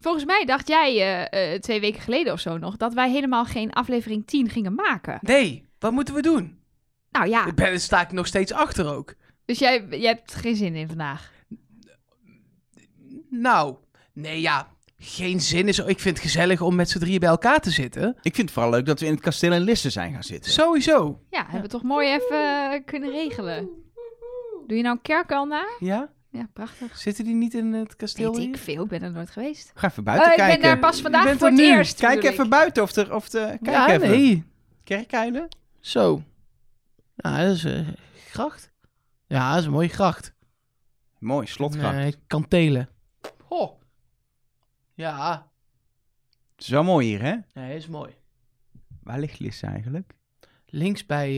Volgens mij dacht jij eh, eh, twee weken geleden of zo nog dat wij helemaal geen aflevering 10 gingen maken. Nee, wat moeten we doen? Nou ja, Ik ben, daar sta ik nog steeds achter ook. dus jij, jij hebt er geen zin in vandaag. Nou, nee ja, geen zin is... Ik vind het gezellig om met z'n drieën bij elkaar te zitten. Ik vind het vooral leuk dat we in het kasteel in Lisse zijn gaan zitten. Sowieso. Ja, hebben we toch mooi even eh, kunnen regelen. Doe je nou een kerkuil na? Ja? Ja, prachtig. Zitten die niet in het kasteel Weet ik hier? veel, ik ben er nooit geweest. Ga even buiten Eh, ik kijken. ben daar pas vandaag Je bent voor er het nu. eerst. Kijk bedoel even ik. buiten of er... Of de, kijk ja, even. nee. Kerkuilen? Zo. Ja, dat is eh, gracht. Ja, dat is een mooie gracht. Mooi, slotgracht. Nee, kantelen. Oh. Ja. Het is wel mooi hier, hè? Nee, dat is mooi. Waar ligt Lisse eigenlijk? Links bij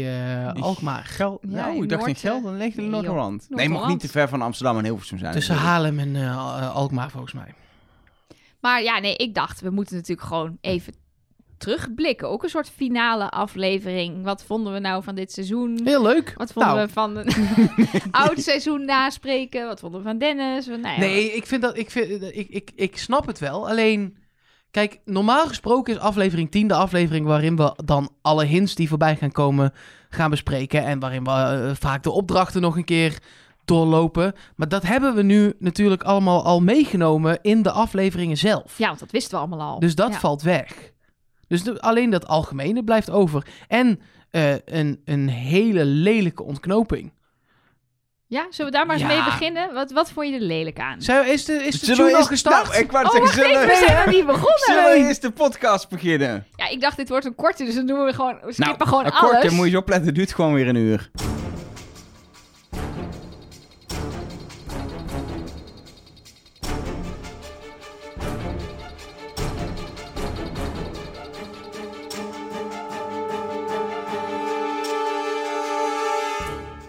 eh, Die Alkmaar. Gel Ja, nou, in ik dacht in Noord, eh, Gelderland, ligt in nee, joh. Noord-Holland. Nee, Noord-Holland. mag niet te ver van Amsterdam en Hilversum zijn. Tussen natuurlijk. Haarlem en eh, Al- eh, Alkmaar, volgens mij. Maar ja, nee, ik dacht, we moeten natuurlijk gewoon even terugblikken. Ook een soort finale aflevering. Wat vonden we nou van dit seizoen? Heel leuk. Wat vonden Nou. we van een oud seizoen naspreken? Wat vonden we van Dennis? Nou ja, Nee, ik vind dat. Ik, vind, ik, ik, ik snap het wel. Alleen. Kijk, normaal gesproken is aflevering 10 de aflevering waarin we dan alle hints die voorbij gaan komen gaan bespreken. En waarin we eh, vaak de opdrachten nog een keer doorlopen. Maar dat hebben we nu natuurlijk allemaal al meegenomen in de afleveringen zelf. Ja, want dat wisten we allemaal al. Dus dat Ja. valt weg. Dus de- alleen dat algemene blijft over. En eh, een, een hele lelijke ontknoping. Ja, zullen we daar maar eens Ja. mee beginnen? Wat, wat vond je er lelijk aan? Zijn, is de, is de Zullen we tune al eerst- gestart? Nou, ik wou Oh, het zeggen, wacht even, we zullen zijn we- nog niet zullen we begonnen. eerst de podcast beginnen? Ja, ik dacht, dit wordt een korte, dus dan doen we gewoon, we skippen Nou, gewoon een korte, alles. moet je eens opletten, het duurt gewoon weer een uur.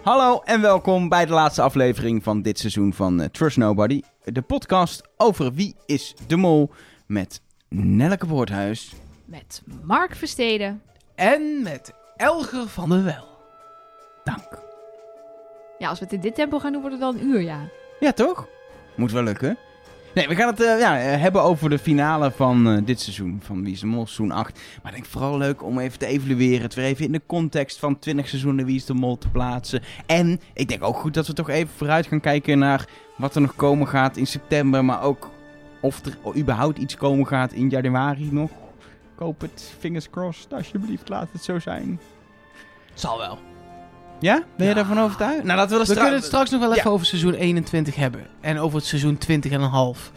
Hallo en welkom bij de laatste aflevering van dit seizoen van eh, Trust Nobody. De podcast over wie is de mol met Nelleke Woordhuis. Met Mark Versteden. En met Elger van der Wel. Dank. Ja, als we het in dit tempo gaan doen, wordt het wel een uur, ja. Ja, toch? Moet wel lukken. Nee, we gaan het eh, ja, eh, hebben over de finale van eh, dit seizoen, van Wie is de Mol, seizoen 8. Maar ik denk vooral leuk om even te evalueren, het weer even in de context van 20 seizoenen Wie is de Mol te plaatsen. En ik denk ook goed dat we toch even vooruit gaan kijken naar wat er nog komen gaat in september, maar ook of er überhaupt iets komen gaat in januari nog. Koop het, fingers crossed, alsjeblieft, laat het zo zijn. Zal wel. Ja? Ben je Ja. daarvan overtuigd? Nou, laten we, er We stra- kunnen het straks nog wel even Ja. over seizoen 21 hebben. En over het seizoen 20 en een half.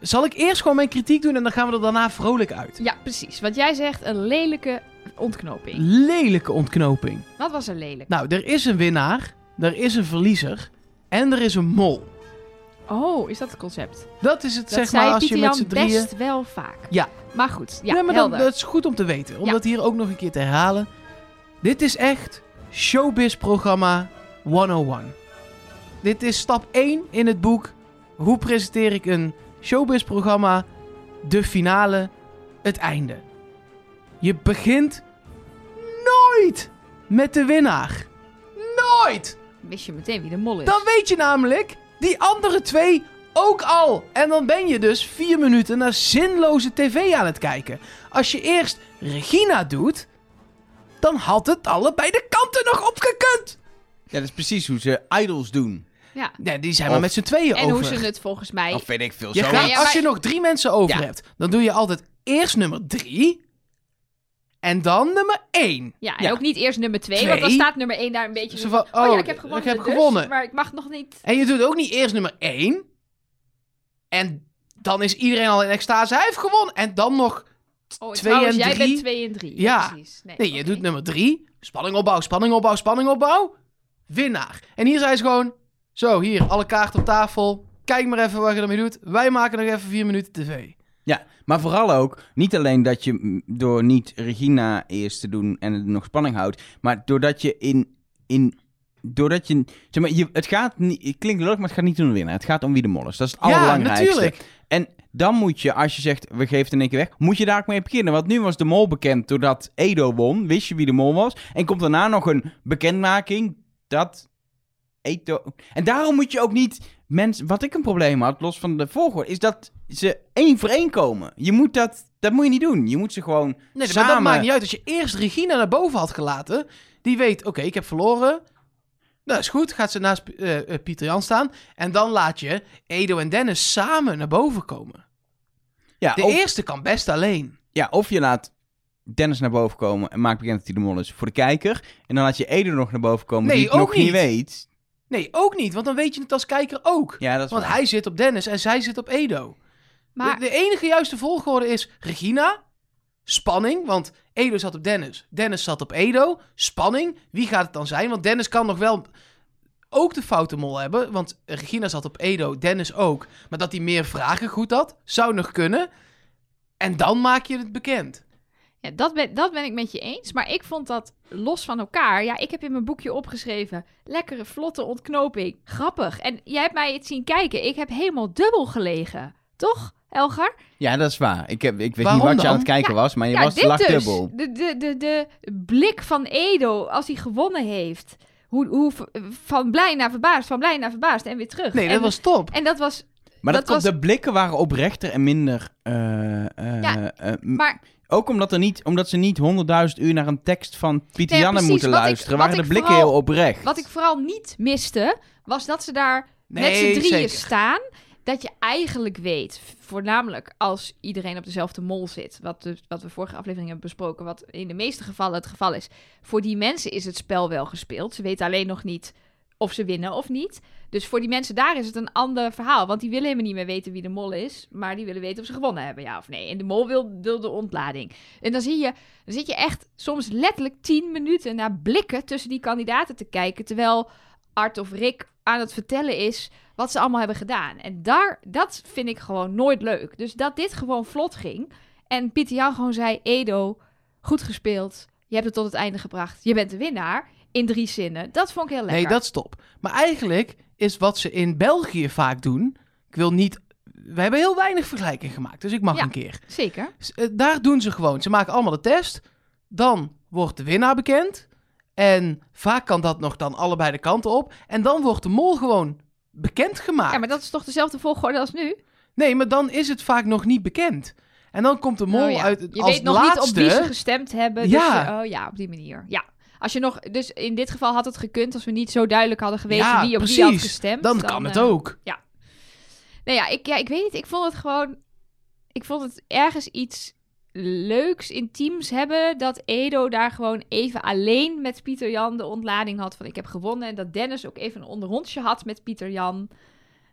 Zal ik eerst gewoon mijn kritiek doen en dan gaan we er daarna vrolijk uit. Ja, precies. Wat jij zegt, een lelijke ontknoping. Lelijke ontknoping. Wat was er lelijk? Nou, er is een winnaar, er is een verliezer en er is een mol. Oh, is dat het concept? Dat is het, Dat zeg zei maar, als Pieter je met Jan z'n drieën... best wel vaak. Ja. Maar goed, ja, nee, maar dat, helder. dat is goed om te weten. Om Ja. dat hier ook nog een keer te herhalen. Dit is echt showbiz-programma 101. Dit is stap 1 in het boek. Hoe presenteer ik een showbiz-programma? De finale, het einde. Je begint nooit met de winnaar. Nooit! Wist je meteen wie de mol is? Dan weet je namelijk die andere twee ook al. En dan ben je dus vier minuten naar zinloze tv aan het kijken. Als je eerst Regina doet, dan had het allebei de kanten nog opgekund. Ja, dat is precies hoe ze idols doen. Ja. Nee, die zijn Of- maar met z'n tweeën En over. hoe ze het volgens mij... Of weet ik veel. Je zo. gaat, Ja, maar- Als je nog drie mensen over Ja. hebt, dan doe je altijd eerst nummer drie. En dan nummer één. Ja, en Ja. ook niet eerst nummer 2, Twee. want dan staat nummer 1 daar een beetje... zo Zo van, van, oh, ja, ik oh, heb gewonnen, ik heb dus, gewonnen. maar ik mag nog niet... En je doet ook niet eerst nummer één. En dan is iedereen al in extase. Hij heeft gewonnen. En dan nog Oh, en Twee trouwens, en jij drie. bent 2 en 3. Ja. precies. Nee, Nee, je oké. doet nou- nummer drie. Spanning opbouw, spanning opbouw, spanning opbouw. Winnaar. En hier zijn ze gewoon... Zo, hier, alle kaarten op tafel. Kijk maar even wat je ermee doet. Wij maken nog even vier minuten tv. Ja, maar vooral ook, niet alleen dat je mm, door niet Regina eerst te doen en het nog spanning houdt, maar doordat je in. in doordat je, zeg maar, je, het gaat niet, het klinkt leuk, maar het gaat niet om de winnaar. Het gaat om wie de mol is. Dat is het Ja, allerbelangrijkste. natuurlijk. En dan moet je, als je zegt, we geven het in één keer weg, moet je daar ook mee beginnen. Want nu was de mol bekend doordat Edo won, wist je wie de mol was. En komt daarna nog een bekendmaking dat Eto. En daarom moet je ook niet mensen. Wat ik een probleem had, los van de volgorde, is dat ze één voor één komen. Je moet dat. Dat moet je niet doen. Je moet ze gewoon. Nee, samen... maar dat maakt niet uit. Als je eerst Regina naar boven had gelaten, die weet, oké, ik heb verloren. Dat is goed, gaat ze naast eh, eh, Pieter Jan staan. En dan laat je Edo en Dennis samen naar boven komen. Ja, De of, eerste kan best alleen. ja, of je laat Dennis naar boven komen en maakt bekend dat hij de mol is voor de kijker. En dan laat je Edo nog naar boven komen Nee, die het ook nog niet niet. weet. Nee, ook niet, want dan weet je het als kijker ook. Ja, dat is Want waar. hij zit op Dennis en zij zit op Edo. Maar De, de enige juiste volgorde is Regina, spanning, want Edo zat op Dennis. Dennis zat op Edo, spanning. Wie gaat het dan zijn? Want Dennis kan nog wel ook de foute mol hebben, want Regina zat op Edo, Dennis ook. Maar dat hij meer vragen goed had, zou nog kunnen. En dan maak je het bekend. ja, dat, ben, dat ben ik met je eens. Maar ik vond dat los van elkaar. Ja, ik heb in mijn boekje opgeschreven. Lekkere, vlotte ontknoping. Grappig. En jij hebt mij het zien kijken. Ik heb helemaal dubbel gelegen. Toch, Elgar? Ja, dat is waar. Ik, heb, ik weet Waarom niet wat je dan? aan het kijken was, maar je dit was dus. lachdubbel. De, de, de, de blik van Edo als hij gewonnen heeft. Hoe, hoe, van blij naar verbaasd, van blij naar verbaasd en weer terug. Nee, dat en, was top. En dat was... Maar dat, Dat komt, was- de blikken waren oprechter en minder. eh, eh, Ja, eh, m- Maar ook omdat, er niet, omdat ze niet 100.000 uur naar een tekst van Pieter Nee, Janne precies. moeten Wat ik- luisteren, wat waren de ik blikken vooral- heel oprecht. wat ik vooral niet miste, was dat ze daar met Nee, z'n drieën zeker. staan. Dat je eigenlijk weet, voornamelijk als iedereen op dezelfde mol zit. Wat, dus, wat we vorige aflevering hebben besproken, wat in de meeste gevallen het geval is. Voor die mensen is het spel wel gespeeld. Ze weten alleen nog niet of ze winnen of niet. Dus voor die mensen daar is het een ander verhaal. Want die willen helemaal niet meer weten wie de mol is. Maar die willen weten of ze gewonnen hebben, ja of nee. En de mol wil, wil de ontlading. En dan, zie je, dan zit je echt soms letterlijk tien minuten naar blikken tussen die kandidaten te kijken. Terwijl Art of Rick aan het vertellen is wat ze allemaal hebben gedaan. En daar, dat vind ik gewoon nooit leuk. Dus dat dit gewoon vlot ging. En Pieter Jan gewoon zei, Edo, goed gespeeld. Je hebt het tot het einde gebracht. Je bent de winnaar. In drie zinnen. Dat vond ik heel lekker. Nee, dat is top. Maar eigenlijk is wat ze in België vaak doen. Ik wil niet. We hebben heel weinig vergelijking gemaakt, dus ik mag Ja. een keer. Zeker. S- eh, Daar doen ze gewoon. Ze maken allemaal de test. Dan wordt de winnaar bekend. En vaak kan dat nog dan allebei de kanten op. En dan wordt de mol gewoon bekendgemaakt. Ja, maar dat is toch dezelfde volgorde als nu? Nee, maar dan is het vaak nog niet bekend. En dan komt de mol Oh ja. uit Je als weet nog laatste. niet op wie ze gestemd hebben. Dus Ja. je- oh ja, op die manier. Ja. Als je nog, dus in dit geval had het gekund als we niet zo duidelijk hadden geweten Ja, wie op wie had precies. gestemd. dan kan het eh, ook. Nou ja ik, ja, ik weet niet. Ik vond het gewoon. Ik vond het ergens iets leuks, intiems hebben. Dat Edo daar gewoon even alleen met Pieter Jan de ontlading had van ik heb gewonnen. En dat Dennis ook even een onderrondje had met Pieter Jan.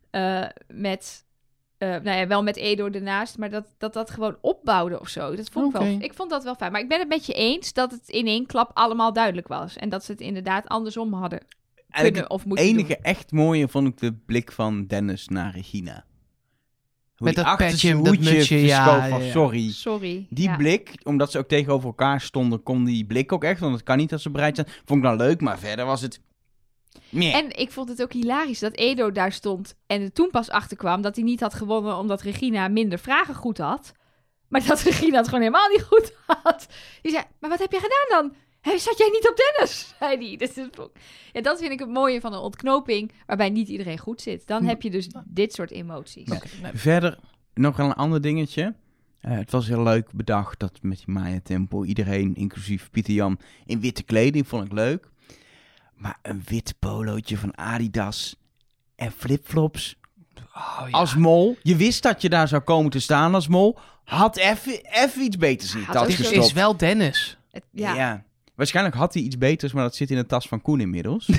Eh, met. eh, nou ja, wel met Edo ernaast, maar dat dat, dat gewoon opbouwde of zo. Dat vond ik, Oké. wel, ik vond dat wel fijn. Maar ik ben het met je eens dat het in één klap allemaal duidelijk was. En dat ze het inderdaad andersom hadden Eigenlijk kunnen of het moeten enige echt mooie vond ik de blik van Dennis naar Regina. Hoe Met die dat achter petje, zijn dat hoedje mutsje, ja, verschoof van ja, ja. doen. sorry. Sorry. Die ja. blik, omdat ze ook tegenover elkaar stonden, kon die blik ook echt. Want het kan niet dat ze bereid zijn. Vond ik dan leuk, maar verder was het... Meh. En ik vond het ook hilarisch dat Edo daar stond en er toen pas achter kwam dat hij niet had gewonnen omdat Regina minder vragen goed had. Maar dat Regina het gewoon helemaal niet goed had. Die zei, maar wat heb jij gedaan dan? Hé, Zat jij niet op Dennis? Zei die. Dus dat vond ik- ja, dat vind ik het mooie van een ontknoping waarbij niet iedereen goed zit. Dan heb je dus dit soort emoties. Oké, nee. Verder nog wel een ander dingetje. Eh, het was heel leuk bedacht dat met die Maya Tempel iedereen, inclusief Pieter Jan, in witte kleding vond ik leuk. Maar een wit polootje van Adidas en flipflops Oh, ja. als mol. Je wist dat je daar zou komen te staan als mol. Had even iets beters in je Had tas ook Dit zo- gestopt. is wel Dennis. Het- ja. ja. Waarschijnlijk had hij iets beters, maar dat zit in de tas van Koen inmiddels.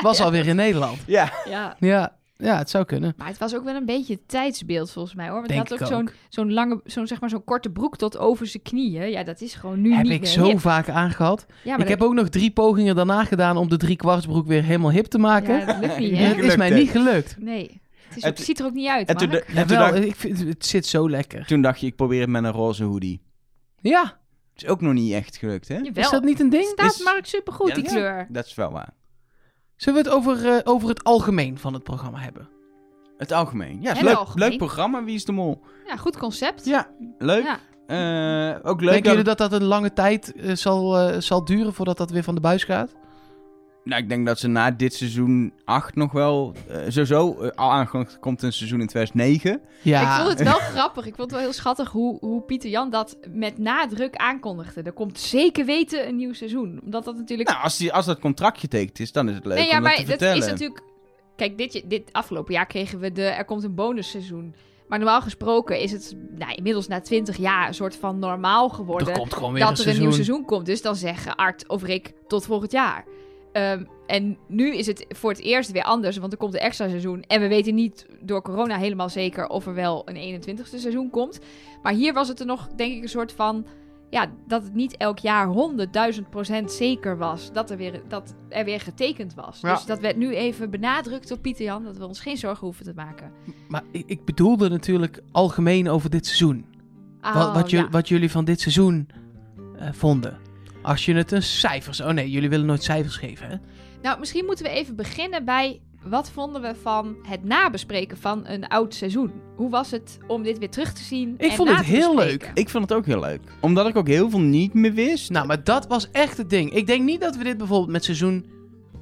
Was alweer in Nederland. ja. ja. Ja, ja het zou kunnen. Maar het was ook wel een beetje het tijdsbeeld volgens mij hoor. Want hij Denk had ook, ik zo'n ook. zo'n lange, zo'n zeg maar zo'n korte broek tot over zijn knieën. Ja, dat is gewoon nu Heb niet ik meer zo hip. vaak aangehad. Ja, ik maar heb dat- ook nog drie pogingen daarna gedaan om de driekwartsbroek weer helemaal hip te maken. ja, dat lukt niet Ja, hè. Maar het is mij Gelukt, hè? niet gelukt. Nee. Het, is En ook- toen- ziet er ook niet uit, En toen, Mark. en toen Jawel, dacht, ik vind, het zit zo lekker. toen dacht je, ik probeer het met een roze hoodie. Ja, Is ook nog niet echt gelukt, hè? Jawel. is dat niet een ding? staat Is- Mark supergoed, Ja, die ja. kleur. Dat is wel waar. Zullen we het over, eh, over het algemeen van het programma hebben? Het algemeen. Ja, het is En leuk, algemeen. leuk programma. Wie is de mol? Ja, goed concept. Ja, leuk. Ja. Eh, ook leuk. Denken Dat... jullie dat dat een lange tijd eh, zal, eh, zal duren voordat dat weer van de buis gaat? Nou, ik denk dat ze na dit seizoen 8 nog wel... eh, sowieso, eh, al aangekondigd komt een seizoen in 2009. Ja, Ik vond het wel grappig. Ik vond het wel heel schattig hoe, hoe Pieter Jan dat met nadruk aankondigde. Er komt zeker weten een nieuw seizoen. Omdat dat natuurlijk. Nou, als, die, als dat contract getekend is, dan is het leuk nee, ja, om dat maar te dat vertellen. is natuurlijk. Kijk, dit, je- dit afgelopen jaar kregen we de. Er komt een bonusseizoen. Maar normaal gesproken is het nou, inmiddels na 20 jaar een soort van normaal geworden. er komt gewoon weer dat een er seizoen. een nieuw seizoen komt. Dus dan zeggen Art of Rick tot volgend jaar. Ehm, en nu is het voor het eerst weer anders, want er komt een extra seizoen. En we weten niet door corona helemaal zeker of er wel een 21ste seizoen komt. Maar hier was het er nog, denk ik, een soort van... Ja, dat het niet elk jaar 100.000% zeker was dat er, weer, dat er weer getekend was. Ja. Dus dat werd nu even benadrukt door Pieter Jan, dat we ons geen zorgen hoeven te maken. Maar ik, ik bedoelde natuurlijk algemeen over dit seizoen. Ah, Oh, wat, wat, je, ja. wat jullie van dit seizoen eh, vonden. Als je het een cijfers... Oh nee, jullie willen nooit cijfers geven, hè? Nou, misschien moeten we even beginnen bij wat vonden we van het nabespreken van een oud seizoen? Hoe was het om dit weer terug te zien? Ik en vond na het te heel bespreken? Ik vond het ook heel leuk. Omdat ik ook heel veel niet meer wist. Nou, maar dat was echt het ding. Ik denk niet dat we dit bijvoorbeeld met seizoen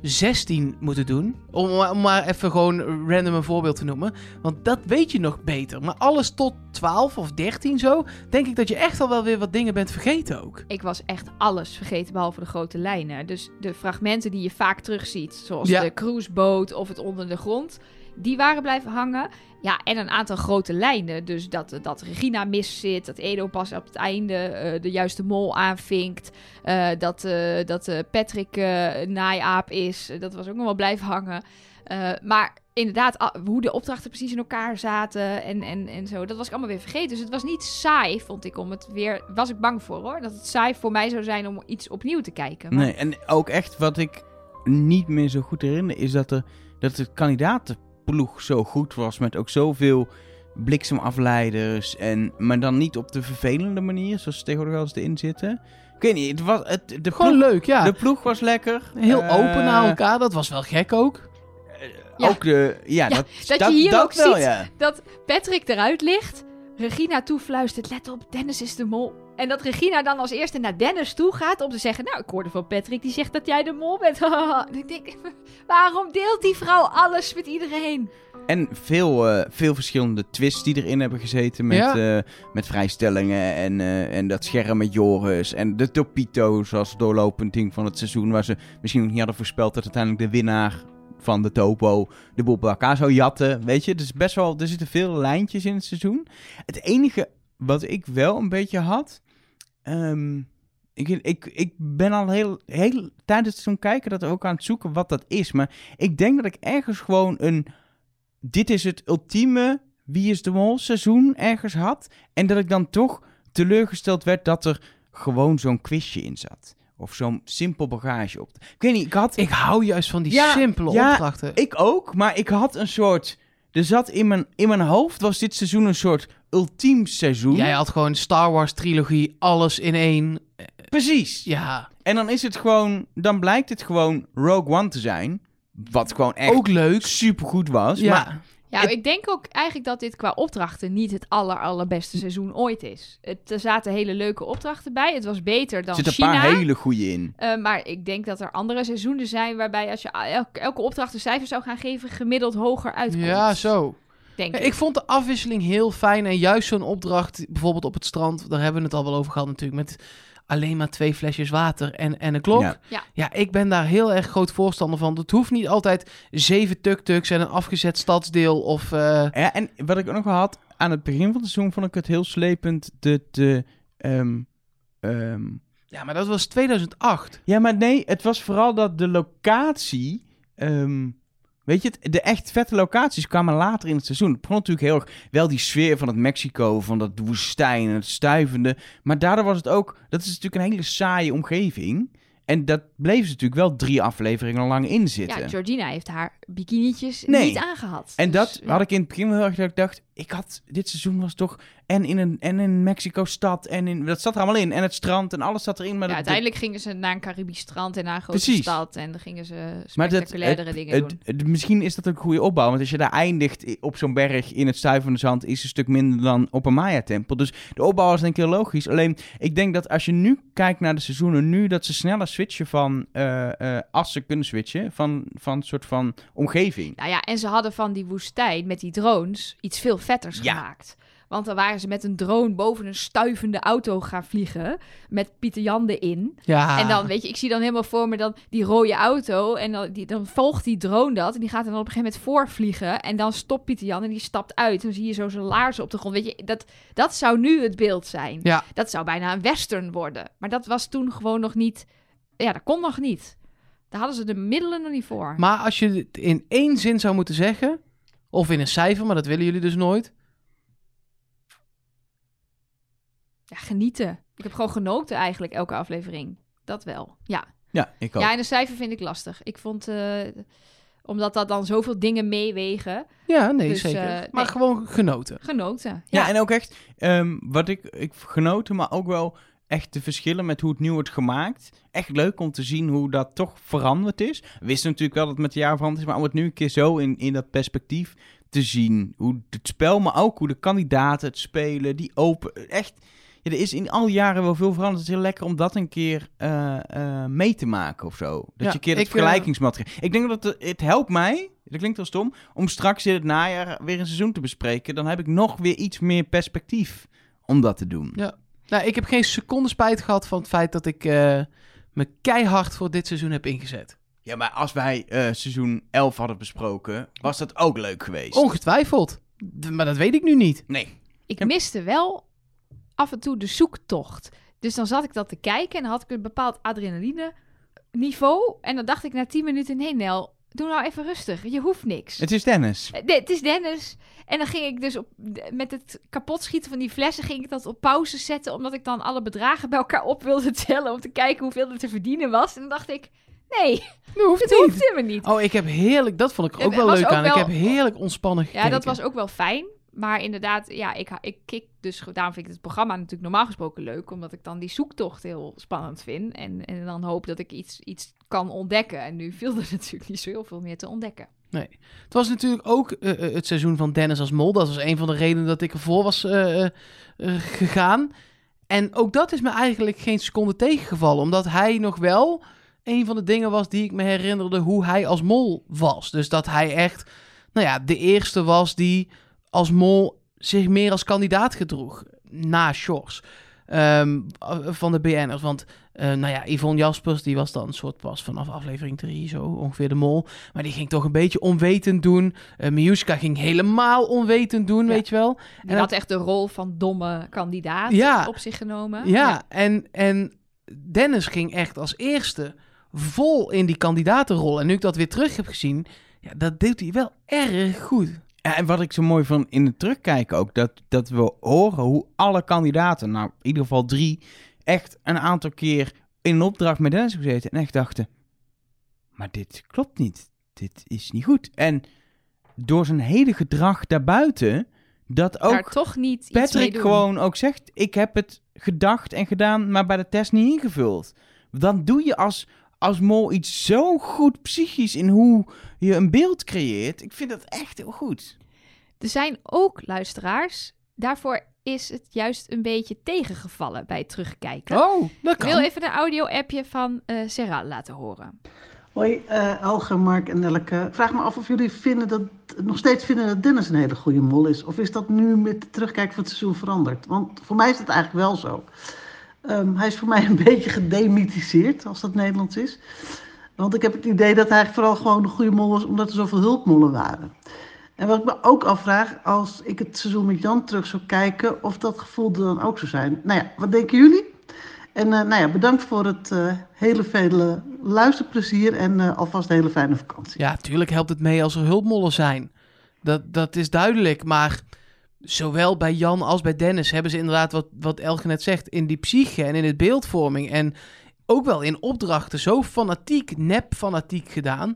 16 moeten doen. Om, maar- om maar even gewoon random een voorbeeld te noemen. Want dat weet je nog beter. Maar alles tot 12 of 13 zo, denk ik dat je echt al wel weer wat dingen bent vergeten ook. Ik was echt alles vergeten behalve de grote lijnen. Dus de fragmenten die je vaak terugziet, zoals Ja. de cruiseboot of het onder de grond, die waren blijven hangen. Ja, en een aantal grote lijnen. Dus dat, dat Regina mis zit, dat Edo pas op het einde eh, de juiste mol aanvinkt, eh, dat, eh, dat eh, Patrick eh, een naaiaap is. Eh, Dat was ook nog wel blijven hangen. Eh, maar inderdaad, a- hoe de opdrachten precies in elkaar zaten en, en, en zo, dat was ik allemaal weer vergeten. Dus het was niet saai, vond ik, om het weer... Was ik bang voor, hoor. Dat het saai voor mij zou zijn om iets opnieuw te kijken. Maar- Nee, en ook echt wat ik niet meer zo goed herinner is dat, er, dat de kandidatenploeg zo goed was. Met ook zoveel bliksemafleiders. En, maar dan niet op de vervelende manier, zoals ze tegenwoordig wel eens erin zitten. Ik weet niet, het was, het, de, Gewoon ploeg, leuk, ja. de ploeg was lekker. Heel Eh, open naar elkaar, dat was wel gek ook. eh, Ja. Ook de, ja, Ja, dat, dat je hier dat ook wel, ziet. ja. dat Patrick eruit ligt. Regina toefluistert, let op, Dennis is de mol. En dat Regina dan als eerste naar Dennis toe gaat om te zeggen... Nou, ik hoorde van Patrick, die zegt dat jij de mol bent. En ik denk, waarom deelt die vrouw alles met iedereen? En veel, eh, veel verschillende twists die erin hebben gezeten. Met, Ja. eh, met vrijstellingen en, eh, en dat scherm met Joris. En de Topito's als doorlopend ding van het seizoen. Waar ze misschien nog niet hadden voorspeld dat uiteindelijk de winnaar van de Topo de boel bij elkaar zou jatten. Weet je, dus best wel, er zitten veel lijntjes in het seizoen. Het enige wat ik wel een beetje had. ehm, ik, ik, ik ben al heel, heel tijdens het seizoen kijken dat ook aan het zoeken wat dat is. Maar ik denk dat ik ergens gewoon een dit is het ultieme Wie is de Mol seizoen ergens had. En dat ik dan toch teleurgesteld werd dat er gewoon zo'n quizje in zat. Of zo'n simpel bagage op. Ik weet niet, ik had... Ik hou juist van die Ja, simpele ja, opdrachten. Ik ook, maar ik had een soort... Er zat in mijn, in mijn hoofd, was dit seizoen een soort ultiem seizoen. Jij had gewoon Star Wars trilogie, alles in één. Precies. Ja, En dan is het gewoon... Dan blijkt het gewoon Rogue One te zijn. Wat gewoon echt ook leuk. supergoed was. Oh. Ja. Maar Ja, Het- ik denk ook eigenlijk dat dit qua opdrachten niet het aller, allerbeste seizoen ooit is. Het, er zaten hele leuke opdrachten bij. Het was beter er dan zitten een China. paar hele goede in. Eh, maar ik denk dat er andere seizoenen zijn waarbij als je elke, elke opdracht een cijfer zou gaan geven, gemiddeld hoger uitkomt. ja, zo. Denk Ja, ik. ik vond de afwisseling heel fijn. En juist zo'n opdracht, bijvoorbeeld op het strand, daar hebben we het al wel over gehad natuurlijk. Met alleen maar twee flesjes water en, en een klok. Ja. Ja. Ja. ik ben daar heel erg groot voorstander van. Het hoeft niet altijd zeven tuk-tuks en een afgezet stadsdeel. Of, eh, Ja, en wat ik ook nog wel had, aan het begin van het seizoen vond ik het heel slepend. De, de, ehm, ehm, Ja, maar dat was 2008. ja, maar nee, het was vooral dat de locatie. ehm, weet je, het- de echt vette locaties kwamen later in het seizoen. Het begon natuurlijk heel erg wel die sfeer van het Mexico, van dat woestijn en het stuivende. Maar daardoor was het ook, dat is natuurlijk een hele saaie omgeving. En dat bleef ze natuurlijk wel drie afleveringen lang in zitten. Ja, Georgina heeft haar bikinietjes Nee. niet aangehad. En Dus, dat ja. had ik in het begin wel heel erg dat ik dacht... Ik had, dit seizoen was toch, en in, een, en in Mexico stad, en in, dat zat er allemaal in. En het strand, en alles zat erin. Maar ja, dat- uiteindelijk gingen ze naar een Caribisch strand en naar een grote Precies. stad. En dan gingen ze Maar dat- spectaculaire dingen het- doen. het- misschien is dat ook een goede opbouw. Want als je daar eindigt i- op zo'n berg in het stuivende zand, is het een stuk minder dan op een Maya-tempel. Dus de opbouw is denk ik heel logisch. Alleen, ik denk dat als je nu kijkt naar de seizoenen, nu dat ze sneller switchen van, eh, eh, als ze kunnen switchen, van, van een soort van omgeving. Nou ja, en ze hadden van die woestijn met die drones iets veel vetters Ja. gemaakt. Want dan waren ze met een drone boven een stuivende auto gaan vliegen. Met Pieter Jan erin. Ja. En dan, weet je, ik zie dan helemaal voor me dan die rode auto. En dan, die, dan volgt die drone dat. En die gaat dan op een gegeven moment voorvliegen. En dan stopt Pieter Jan en die stapt uit. En dan zie je zo zijn laarzen op de grond. Weet je, dat, dat zou nu het beeld zijn. Ja. Dat zou bijna een western worden. Maar dat was toen gewoon nog niet... Ja, dat kon nog niet. Daar hadden ze de middelen nog niet voor. Maar als je het in één zin zou moeten zeggen, of in een cijfer, maar dat willen jullie dus nooit. Ja, genieten. Ik heb gewoon genoten eigenlijk elke aflevering. Dat wel. Ja. Ja, ik ook. Ja, en een cijfer vind ik lastig. Ik vond... eh, omdat dat dan zoveel dingen meewegen. Ja, nee, Dus, zeker. eh, maar nee. gewoon genoten. Genoten. Ja, en ook echt, ehm, wat ik, ik genoten, maar ook wel echt de verschillen met hoe het nu wordt gemaakt. Echt leuk om te zien hoe dat toch veranderd is. We wisten natuurlijk wel dat het met de jaren veranderd is, maar om het nu een keer zo in, in dat perspectief te zien. Hoe het spel, maar ook hoe de kandidaten het spelen, die open, echt... Ja, er is in al die jaren wel veel veranderd. Het is heel lekker om dat een keer eh, eh, mee te maken of zo. Dat Ja, je een keer ik, het eh, vergelijkingsmateriaal... Ik denk dat het, het helpt mij, dat klinkt wel stom, om straks in het najaar weer een seizoen te bespreken. Dan heb ik nog weer iets meer perspectief om dat te doen. Ja. Nou, ik heb geen seconde spijt gehad van het feit dat ik eh, me keihard voor dit seizoen heb ingezet. Ja, maar als wij eh, seizoen 11 hadden besproken, was dat ook leuk geweest. Ongetwijfeld. D- maar dat weet ik nu niet. Nee. Ik Ja. miste wel af en toe de zoektocht. Dus dan zat ik dat te kijken en dan had ik een bepaald adrenaline niveau. En dan dacht ik na 10 minuten, nee Nel, doe nou even rustig. Je hoeft niks. Het is Dennis. Eh, nee, het is Dennis. En dan ging ik dus op, met het kapotschieten van die flessen... ging ik dat op pauze zetten... omdat ik dan alle bedragen bij elkaar op wilde tellen... om te kijken hoeveel er te verdienen was. En dan dacht ik, nee, Dat hoeft het hoeft helemaal niet. Oh, ik heb heerlijk, dat vond ik er Ja, ook wel was leuk ook aan. Ik wel- heb heerlijk ontspannen Ja, gekeken. dat was ook wel fijn. Maar inderdaad, ja, ik, ha- ik kik dus... Daarom vind ik het programma natuurlijk normaal gesproken leuk... omdat ik dan die zoektocht heel spannend vind. En, en dan hoop dat ik iets, iets kan ontdekken. En nu viel er natuurlijk niet zo heel veel meer te ontdekken. Het was natuurlijk ook eh, eh, het seizoen van Dennis als mol. Dat was een van de redenen dat ik ervoor was eh, eh, eh, gegaan. En ook dat is me eigenlijk geen seconde tegengevallen. Omdat hij nog wel een van de dingen was die ik me herinnerde hoe hij als mol was. Dus dat hij echt, nou ja, de eerste was die als mol zich meer als kandidaat gedroeg. Na Shores. ehm, van de BN'ers. Want eh, nou ja, Yvonne Jaspers, die was dan een soort pas vanaf aflevering 3 zo, ongeveer de mol. Maar die ging toch een beetje onwetend doen. Eh Miuska ging helemaal onwetend doen, Ja. weet je wel. Die En had echt de rol van domme kandidaat Ja. op zich genomen. Ja, en, en Dennis ging echt als eerste vol in die kandidatenrol. En nu ik dat weer terug heb gezien, ja, dat deed hij wel erg goed. Ja, en wat ik zo mooi van in het terugkijken ook, dat, dat we horen hoe alle kandidaten, nou in ieder geval drie, echt een aantal keer in een opdracht met Dennis hebben gezeten en echt dachten, maar dit klopt niet, dit is niet goed. En door zijn hele gedrag daarbuiten, dat ook daar toch niet iets mee Patrick doen. gewoon ook zegt, ik heb het gedacht en gedaan, maar bij de test niet ingevuld. Dan doe je als, als mol iets zo goed psychisch in hoe je een beeld creëert. Ik vind dat echt heel goed. Er zijn ook luisteraars. Daarvoor is het juist een beetje tegengevallen bij het terugkijken. Oh, dat Ik wil even een audio-appje van eh Sarah laten horen. Hoi, eh Elger, Mark en Nelke. Ik Vraag me af of jullie vinden dat, nog steeds vinden dat Dennis een hele goede mol is. Of is dat nu met de terugkijk van het seizoen veranderd? Want voor mij is dat eigenlijk wel zo. Ehm, hij is voor mij een beetje gedemythiseerd, als dat Nederlands is. Want ik heb het idee dat hij vooral gewoon een goede mol was, omdat er zoveel hulpmollen waren. En wat ik me ook afvraag, als ik het seizoen met Jan terug zou kijken, of dat gevoel er dan ook zou zijn. Nou ja, wat denken jullie? En eh, nou ja, bedankt voor het eh, hele vele luisterplezier en eh, alvast een hele fijne vakantie. Ja, tuurlijk helpt het mee als er hulpmollen zijn. Dat, dat is duidelijk, maar zowel bij Jan als bij Dennis hebben ze inderdaad wat, wat Elke net zegt... in die psyche en in het beeldvorming en ook wel in opdrachten zo fanatiek, nep fanatiek gedaan...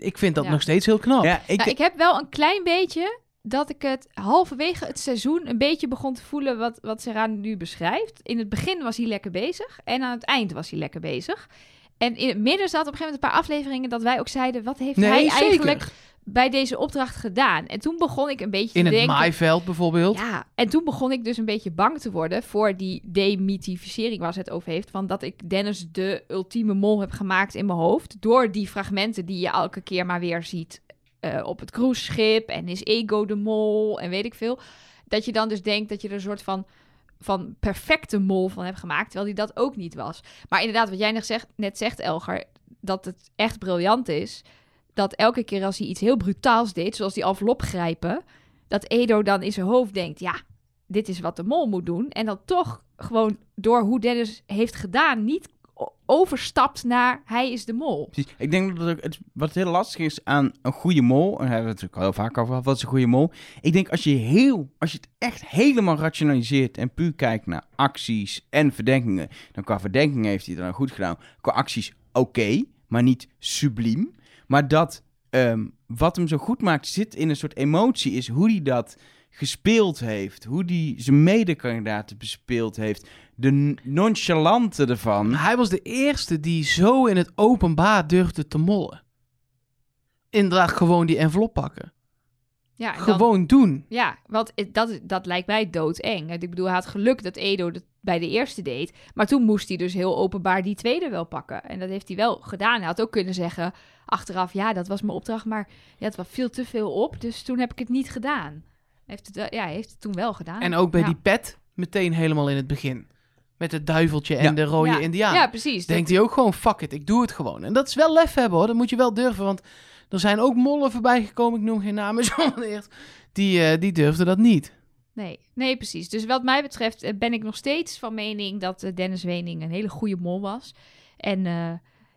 Ik vind dat Ja. nog steeds heel knap. Ja, ik, Nou, ik heb wel een klein beetje dat ik het halverwege het seizoen een beetje begon te voelen wat, wat Serrano nu beschrijft. In het begin was hij lekker bezig en aan het eind was hij lekker bezig. En in het midden zat op een gegeven moment een paar afleveringen dat wij ook zeiden, wat heeft hij Nee, eigenlijk zeker. bij deze opdracht gedaan? En toen begon ik een beetje In te het denken... maaiveld bijvoorbeeld. Ja, en toen begon ik dus een beetje bang te worden voor die demythificering waar ze het over heeft. Van dat ik Dennis de ultieme mol heb gemaakt in mijn hoofd. Door die fragmenten die je elke keer maar weer ziet eh, op het cruiseschip. En is Ego de mol en weet ik veel. Dat je dan dus denkt dat je er een soort van, van perfecte mol van hebt gemaakt. Terwijl die dat ook niet was. Maar inderdaad, wat jij net zegt, net zegt Elger, dat het echt briljant is. Dat elke keer als hij iets heel brutaals deed, zoals die envelop grijpen dat Edo dan in zijn hoofd denkt: ja, dit is wat de mol moet doen. En dan toch gewoon door hoe Dennis heeft gedaan, niet o- overstapt naar hij is de mol. Precies. Ik denk dat het, het- wat heel lastig is aan een goede mol, en daar hebben we het natuurlijk al heel vaak over gehad, wat is een goede mol? Ik denk als je, heel, als je het echt helemaal rationaliseert en puur kijkt naar acties en verdenkingen, dan qua verdenkingen heeft hij het dan goed gedaan. Qua acties oké, maar niet subliem. Maar dat ehm, wat hem zo goed maakt zit in een soort emotie, is hoe hij dat gespeeld heeft, hoe hij zijn medekandidaten bespeeld heeft, de n- nonchalante ervan. Hij was de eerste die zo in het openbaar durfde te mollen. Inderdaad, gewoon die envelop pakken. Ja, en dan- Gewoon doen. ja want het- dat, dat lijkt mij doodeng. Ik bedoel, hij had geluk dat Edo dat bij de eerste deed. Maar toen moest hij dus heel openbaar die tweede wel pakken. En dat heeft hij wel gedaan. Hij had ook kunnen zeggen achteraf: ja, dat was mijn opdracht, maar ja, het was veel te veel op. Dus toen heb ik het niet gedaan. Hij Heeft het, wel- ja, hij heeft het toen wel gedaan. En ook bij Ah, Ja. die pet, meteen helemaal in het begin. Met het duiveltje en Ja. de rode ja. indiaan. Ja, precies. Dat- Denkt hij ook gewoon, fuck it, ik doe het gewoon. En dat is wel lef hebben hoor, dat moet je wel durven. Want er zijn ook mollen voorbij gekomen, ik noem geen namen zo van eerst. Die, eh, die durfden dat niet. Nee, nee, precies. Dus wat mij betreft eh, ben ik nog steeds van mening dat eh, Dennis Wening een hele goede mol was. En eh,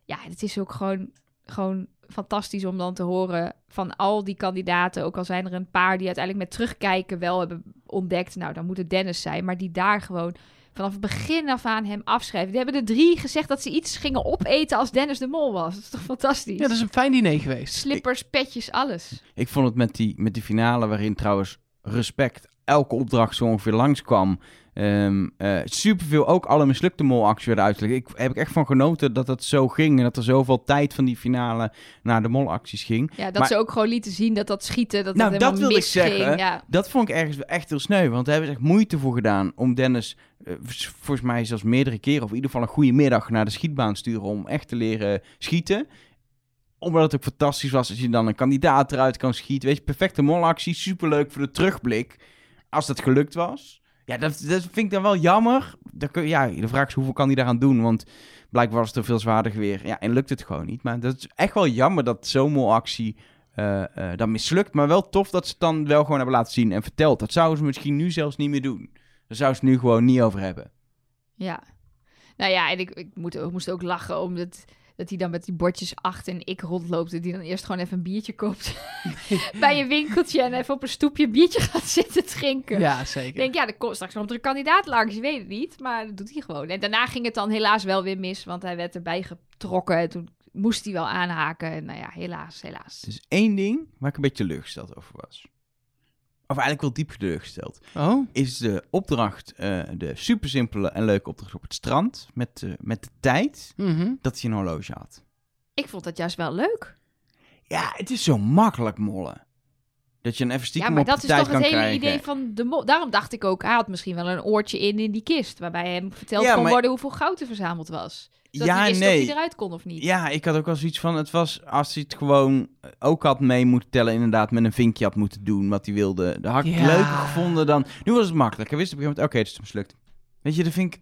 ja, het is ook gewoon, gewoon fantastisch om dan te horen van al die kandidaten. Ook al zijn er een paar die uiteindelijk met terugkijken wel hebben ontdekt. Nou, dan moet het Dennis zijn. Maar die daar gewoon vanaf het begin af aan hem afschrijven. Die hebben er drie gezegd dat ze iets gingen opeten als Dennis de mol was. Dat is toch fantastisch? dus Ja, dat is een fijn diner geweest. Slippers, petjes, alles. Ik vond het met die, met die finale, waarin trouwens respect elke opdracht zo ongeveer langskwam. Ehm eh superveel, ook alle mislukte molacties werden uitgelegd. Ik heb ik echt van genoten dat dat zo ging. En dat er zoveel tijd van die finale naar de molacties ging. Ja, dat Maar- ze ook gewoon lieten zien dat dat schieten, dat Nou, dat dat helemaal wilde ik misging. zeggen. Ja. Dat vond ik ergens wel echt heel sneu. Want daar hebben ze echt moeite voor gedaan om Dennis... eh, s- volgens mij zelfs meerdere keren... of in ieder geval een goede middag naar de schietbaan sturen... om echt te leren schieten. Omdat het ook fantastisch was als je dan een kandidaat eruit kan schieten. Weet je, perfecte molactie. Superleuk voor de terugblik. Als dat gelukt was. Ja, dat, dat vind ik dan wel jammer. Dan kun, ja, de vraag is hoeveel kan hij daaraan doen? Want blijkbaar was het een veel zwaarder geweer. Ja, en lukt het gewoon niet. Maar dat is echt wel jammer dat zo'n molactie eh, eh, dan mislukt. Maar wel tof dat ze het dan wel gewoon hebben laten zien en verteld. Dat zouden ze misschien nu zelfs niet meer doen. Daar zouden ze het nu gewoon niet over hebben. Ja. Nou ja, en ik, ik, moet, ik moest ook lachen omdat dat hij dan met die bordjes 8 en ik rondloopt. En die dan eerst gewoon even een biertje koopt bij een winkeltje. En even op een stoepje een biertje gaat zitten drinken. Ja, Ik zeker. denk, ja, er komt straks komt er een kandidaat langs. Je weet het niet, maar dat doet hij gewoon. En daarna ging het dan helaas wel weer mis, want hij werd erbij getrokken. En toen moest hij wel aanhaken. En nou ja, helaas, helaas. Het is één ding waar ik een beetje teleurgesteld over was. Of eigenlijk wel diep teleurgesteld. Oh, Is de opdracht, eh, de super simpele en leuke opdracht op het strand. Met, eh, met de tijd mhm. dat hij een horloge had. Ik vond dat juist wel leuk. Ja, het is zo makkelijk mollen. Dat je een even Ja, stiekem maar op dat is de tijd toch het kan hele krijgen. idee van de mol. Daarom dacht ik ook, hij had misschien wel een oortje in in die kist. Waarbij hem verteld Ja, kon maar- worden hoeveel goud er verzameld was. Dat ja, hij wist nee. of hij eruit kon of niet. Ja, ik had ook wel zoiets van, het was als hij het gewoon ook had mee moeten tellen, inderdaad met een vinkje had moeten doen wat hij wilde. Dat had ik Ja. leuker gevonden dan... Nu was het makkelijk. Hij wist op een gegeven moment, oké, het is mislukt. Weet je, dat vind ik...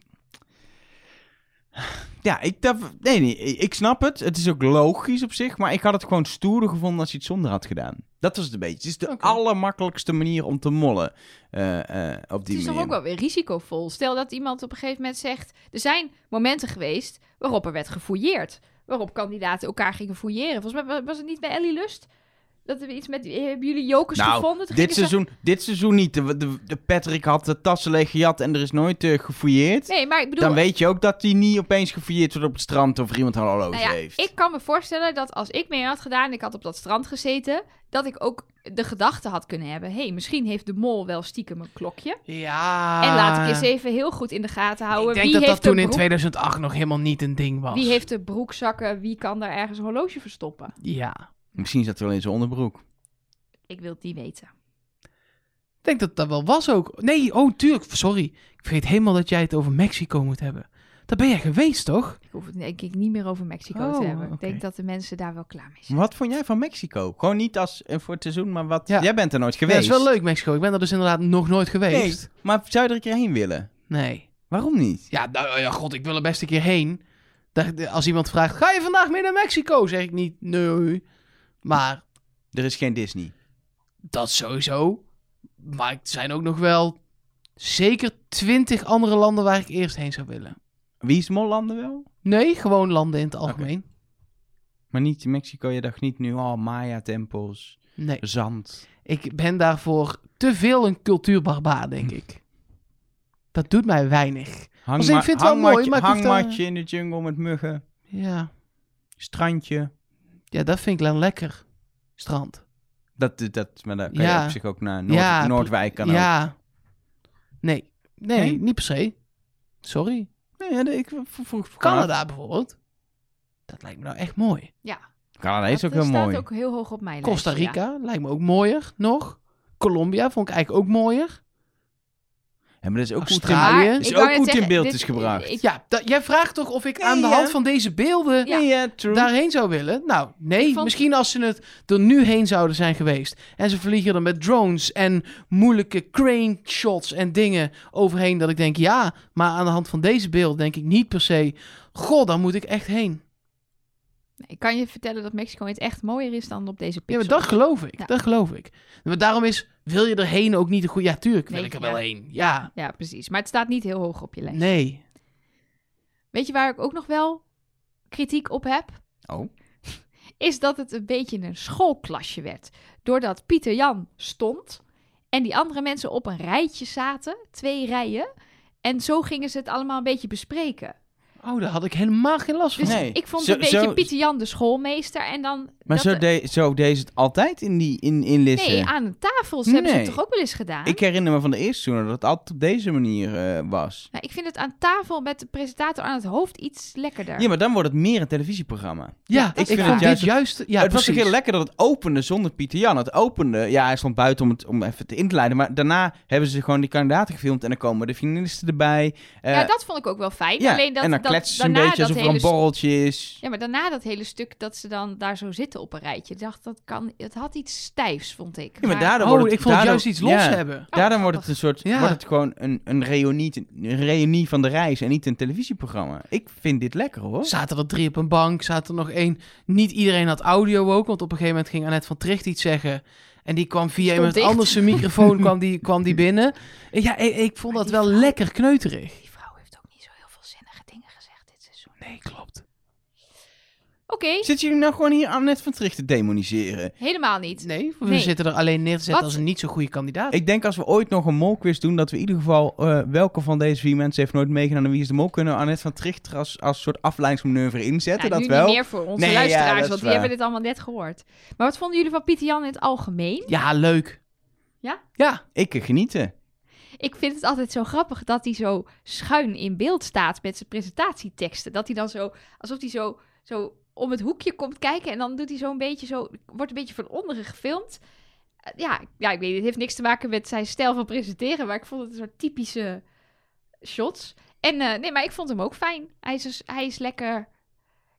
Ja, ik, dat, nee, nee, ik snap het. Het is ook logisch op zich, maar ik had het gewoon stoerder gevonden als hij het zonder had gedaan. Dat was het een beetje. Het is de Oké. allermakkelijkste manier om te mollen eh, eh, op die het is toch manier. ook wel weer risicovol. Stel dat iemand op een gegeven moment zegt... Er zijn momenten geweest waarop er werd gefouilleerd. Waarop kandidaten elkaar gingen fouilleren. Volgens mij wa- was het niet bij Ellie Lust... Dat hebben we iets met... eh, Hebben jullie jokers gevonden? Toen Nou, gingen dit ze- seizoen, dit seizoen niet. De, de, de Patrick had de tassen leeg gejat en er is nooit eh, gefouilleerd. Nee, maar ik bedoel... Dan weet je ook dat hij niet opeens gefouilleerd wordt op het strand of er iemand hallo nou ja, heeft. ik kan me voorstellen dat als ik mee had gedaan... en ik had op dat strand gezeten... dat ik ook de gedachte had kunnen hebben... hé, hey, misschien heeft de mol wel stiekem een klokje. Ja. En laat ik eens even heel goed in de gaten houden... Ah. Ik denk wie dat heeft dat toen de in broek- 2008 nog helemaal niet een ding was. Wie heeft de broekzakken? Wie kan daar ergens een horloge verstoppen? Ja. Misschien zat hij wel in zijn onderbroek. Ik wil die weten. Ik denk dat dat wel was ook. Nee, oh, tuurlijk. Sorry. Ik vergeet helemaal dat jij het over Mexico moet hebben. Daar ben jij geweest, toch? Ik hoef het denk ik niet meer over Mexico Oh, te hebben. oké. Ik denk dat de mensen daar wel klaar mee zijn. Wat vond jij van Mexico? Gewoon niet als eh, voor het seizoen, maar wat... Ja. Jij bent er nooit Ja, dat geweest. is wel leuk, Mexico. Ik ben er dus inderdaad nog nooit Nee, geweest. maar zou je er een keer heen willen? Nee. Waarom niet? Ja, nou ja, god, ik wil er best een keer heen. Daar- de- Als iemand vraagt, ga je vandaag mee naar Mexico? Zeg ik niet, nee. Maar Er is geen Disney. dat sowieso. Maar er zijn ook nog wel zeker twintig andere landen waar ik eerst heen zou willen. Wie is Mollanden wel? Nee, gewoon landen in het algemeen. Maar niet Mexico. Je dacht niet nu al Maya-tempels, Nee. zand. Ik ben daarvoor te veel een cultuurbarbaar, denk ik. Dat doet mij weinig. Hang, Als in, ik vind het wel mooi, maar ik hoef daar- hangmatje in de jungle met muggen. Ja, Strandje. ja dat vind ik dan lekker. Strand. Dat, dat, maar daar kan Ja. je op zich ook naar Noord, Ja, Noordwijk. Kan ook. ja. Nee. nee. Nee? niet per se. Sorry. Nee, ja, de- ik vroeg- vroeg Canada bijvoorbeeld. Dat lijkt me nou echt mooi. Ja, Canada is dat eh, ook heel staat mooi. ook heel hoog op mijn lijst. Costa Rica lijkt me ook mooier nog. Colombia vond ik eigenlijk ook mooier. Ja, maar dat is ook goed in, Australië. Italië. ik is wou ook net goed in zeggen, beeld dit- is gebracht. ik- Ja, dat, jij vraagt toch of ik Nee, aan de hè? hand van deze beelden Ja. Nee, ja, true. daarheen zou willen? Nou, nee. Ik vond- Misschien als ze het er nu heen zouden zijn geweest. En ze vliegen er met drones en moeilijke crane shots en dingen overheen. Dat ik denk, ja, maar aan de hand van deze beelden denk ik niet per se... Goh, daar moet ik echt heen. Nee, ik kan je vertellen dat Mexico in het echt mooier is dan op deze Ja, pixel. maar dat geloof ik. Ja. Dat geloof ik. Maar daarom is, wil je erheen ook niet een goede... Ja, tuurlijk wil Nee, ik er ja. wel heen. Ja. Ja, precies. Maar het staat niet heel hoog op je lijst. Nee. Weet je waar ik ook nog wel kritiek op heb? Oh. Is dat het een beetje een schoolklasje werd. Doordat Pieter Jan stond en die andere mensen op een rijtje zaten, twee rijen. En zo gingen ze het allemaal een beetje bespreken. Oh, daar had ik helemaal geen last van. Dus Nee. ik vond Zo- een beetje zo- Pieter Jan de schoolmeester en dan... Maar dat zo, de- de, zo deed ze het altijd in, die, in, in Lisse. Nee, ah, aan de tafels hebben ze het Nee. toch ook wel eens gedaan? ik herinner me van de eerste seizoen dat het altijd op deze manier eh, was. Nou, ik vind het aan tafel met de presentator aan het hoofd iets lekkerder. Ja, maar dan wordt het meer een televisieprogramma. Ja, ik, ik vind vond het juist- dit juist... Ja, het was precies. ook heel lekker dat het opende zonder Pieter Jan. Het opende, ja, hij stond buiten om het om even te in te leiden. Maar daarna hebben ze gewoon die kandidaten gefilmd en dan komen de finalisten erbij. Eh, ja, dat vond ik ook wel fijn. ja, Alleen dat, en dan dat, kletsen ze een daarna beetje dat alsof er een hele st- borreltje is. Ja, maar daarna dat hele stuk dat ze dan daar zo zitten op een rijtje. Ik dacht, dat kan, het had iets stijfs, vond ik. Ja, maar Maar- daardoor Oh, wordt het- ik vond het daardoor- juist iets los ja. hebben. Oh, Daardoor wordt grappig. het een soort, Ja. wordt het gewoon een, een, reunie, een reunie van de reis en niet een televisieprogramma. Ik vind dit lekker hoor. Zaten er drie op een bank, zaten er nog één. Niet iedereen had audio ook, want op een gegeven moment ging Annette van Tricht iets zeggen. En die kwam via Stond iemand dicht. anders zijn microfoon kwam die, kwam die binnen. En Ja, ik, ik vond Maar dat die wel vrouw- lekker kneuterig. Die vrouw heeft ook niet zo heel veel zinnige dingen gezegd dit seizoen. Nee, klopt. Oké, Zitten jullie nou gewoon hier Annette van Tricht te demoniseren? helemaal niet. Nee, we Nee. zitten er alleen neer te zetten Wat? als een niet zo goede kandidaat. Ik denk als we ooit nog een molquiz doen, dat we in ieder geval eh, welke van deze vier mensen heeft nooit meegedaan en wie is de mol, kunnen we Annette van Tricht er als, als soort afleidingsmanoeuvre inzetten. Nou, dat nu wel. niet meer voor onze Nee, ja, luisteraars, dat is want die waar. hebben dit allemaal net gehoord. Maar wat vonden jullie van Pieter Jan in het algemeen? Ja, leuk. Ja? Ja, Ik eh, genieten. Ik vind het altijd zo grappig dat hij zo schuin in beeld staat met zijn presentatieteksten. Dat hij dan zo, alsof hij zo, zo om het hoekje komt kijken en dan doet hij zo'n beetje zo, wordt een beetje van onderen gefilmd. Eh, Ja, ja, ik weet niet, het heeft niks te maken met zijn stijl van presenteren, maar ik vond het een soort typische shots. En eh, nee, maar ik vond hem ook fijn. Hij is, dus- hij is lekker,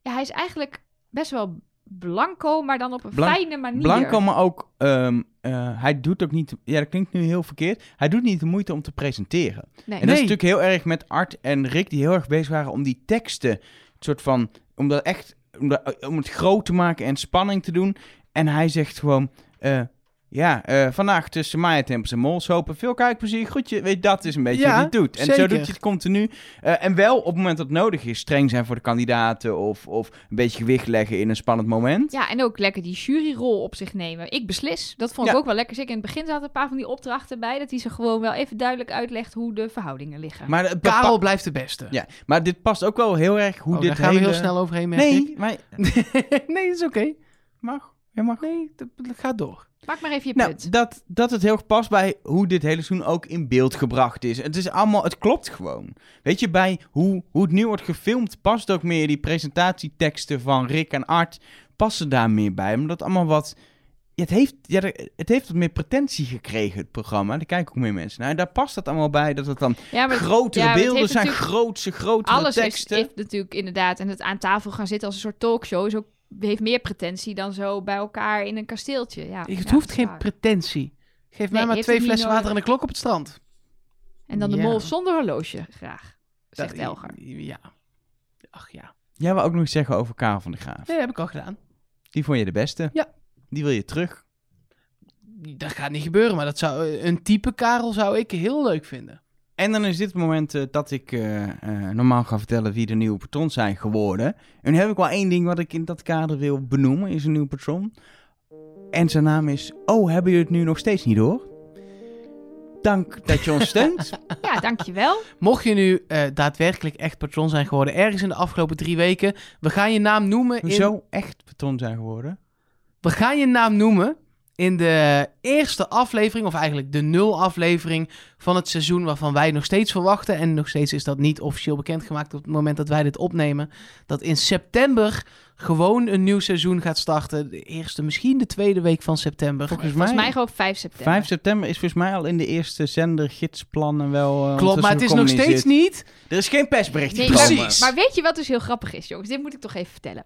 ja, hij is eigenlijk best wel blanco, maar dan op een Blan- fijne manier. Blanco, maar ook, ehm, eh, hij doet ook niet, ja dat klinkt nu heel verkeerd, hij doet niet de moeite om te presenteren. Nee. En dat is Nee. natuurlijk heel erg met Art en Rick, die heel erg bezig waren om die teksten, het soort van, om dat echt, om, dat- om het groot te maken en spanning te doen. En hij zegt gewoon, eh, Ja, eh, vandaag tussen Maya Tempels en Mols hopen veel kijkplezier. Groetje, weet je, dat is een beetje Ja, wie het doet. En zo zeker. doet je het continu. Eh, en wel op het moment dat het nodig is, streng zijn voor de kandidaten of, of een beetje gewicht leggen in een spannend moment. Ja, en ook lekker die juryrol op zich nemen. Ik beslis. Dat vond ik Ja. ook wel lekker. Zeker in het begin zaten een paar van die opdrachten bij. Dat hij ze gewoon wel even duidelijk uitlegt hoe de verhoudingen liggen. Maar, het bepa- Karel blijft de beste. ja, maar dit past ook wel heel erg hoe Oh, dit daar gaan hele... we heel snel overheen, merk Nee, maar ik. nee, dat is oké. mag. Je mag. Nee, dat, dat gaat door. Pak maar even je Nou, punt. dat, dat het heel erg past bij hoe dit hele seizoen ook in beeld gebracht is. Het is allemaal, het klopt gewoon. Weet je, bij hoe, hoe het nu wordt gefilmd, past ook meer die presentatieteksten van Rick en Art, passen daar meer bij. Omdat het allemaal wat, ja, het heeft, ja, er- het heeft wat meer pretentie gekregen, het programma. Daar kijken ook meer mensen naar. En daar past dat allemaal bij, dat het dan ja, maar grotere ja, maar het beelden heeft zijn, natuurlijk- grootse, grotere alles is, teksten. heeft natuurlijk inderdaad. En het aan tafel gaan zitten als een soort talkshow is ook, heeft meer pretentie dan zo bij elkaar in een kasteeltje. Ja, het ja, hoeft dat is geen waar. pretentie. Geef mij Nee, maar heeft twee het niet flessen nodig. water en een klok op het strand. En dan de Ja. mol zonder horloge, graag. Zegt Dat- Elger. Ja. Ach ja. Jij wou ook nog iets zeggen over Karel van de Graaf. Nee, dat heb ik al gedaan. Die vond je de beste. Ja. Die wil je terug. Dat gaat niet gebeuren, maar dat zou, eh, een type Karel zou ik heel leuk vinden. En dan is dit het moment eh, dat ik eh, eh, normaal ga vertellen wie de nieuwe patrons zijn geworden. En nu heb ik wel één ding wat ik in dat kader wil benoemen, is een nieuwe patron. En zijn naam is... Oh, hebben jullie het nu nog steeds niet door? Dank dat je ons steunt. Ja, dankjewel. Mocht je nu eh, daadwerkelijk echt patron zijn geworden, ergens in de afgelopen drie weken, we gaan je naam noemen. In, Hoezo echt patron zijn geworden? We gaan je naam noemen in de eerste aflevering, of eigenlijk de nul aflevering van het seizoen waarvan wij nog steeds verwachten. En nog steeds is dat niet officieel bekendgemaakt op het moment dat wij dit opnemen. Dat in september gewoon een nieuw seizoen gaat starten. De eerste, misschien de tweede week van september. Volgens mij, Volgens mij gewoon 5 september. 5 september is volgens mij al in de eerste zender gidsplannen wel... eh, Klopt, ondertussen maar het is nog steeds gecommuniceerd. niet. Er is geen persbericht Nee, gekomen. Maar, maar weet je wat dus heel grappig is, jongens? Dit moet ik toch even vertellen.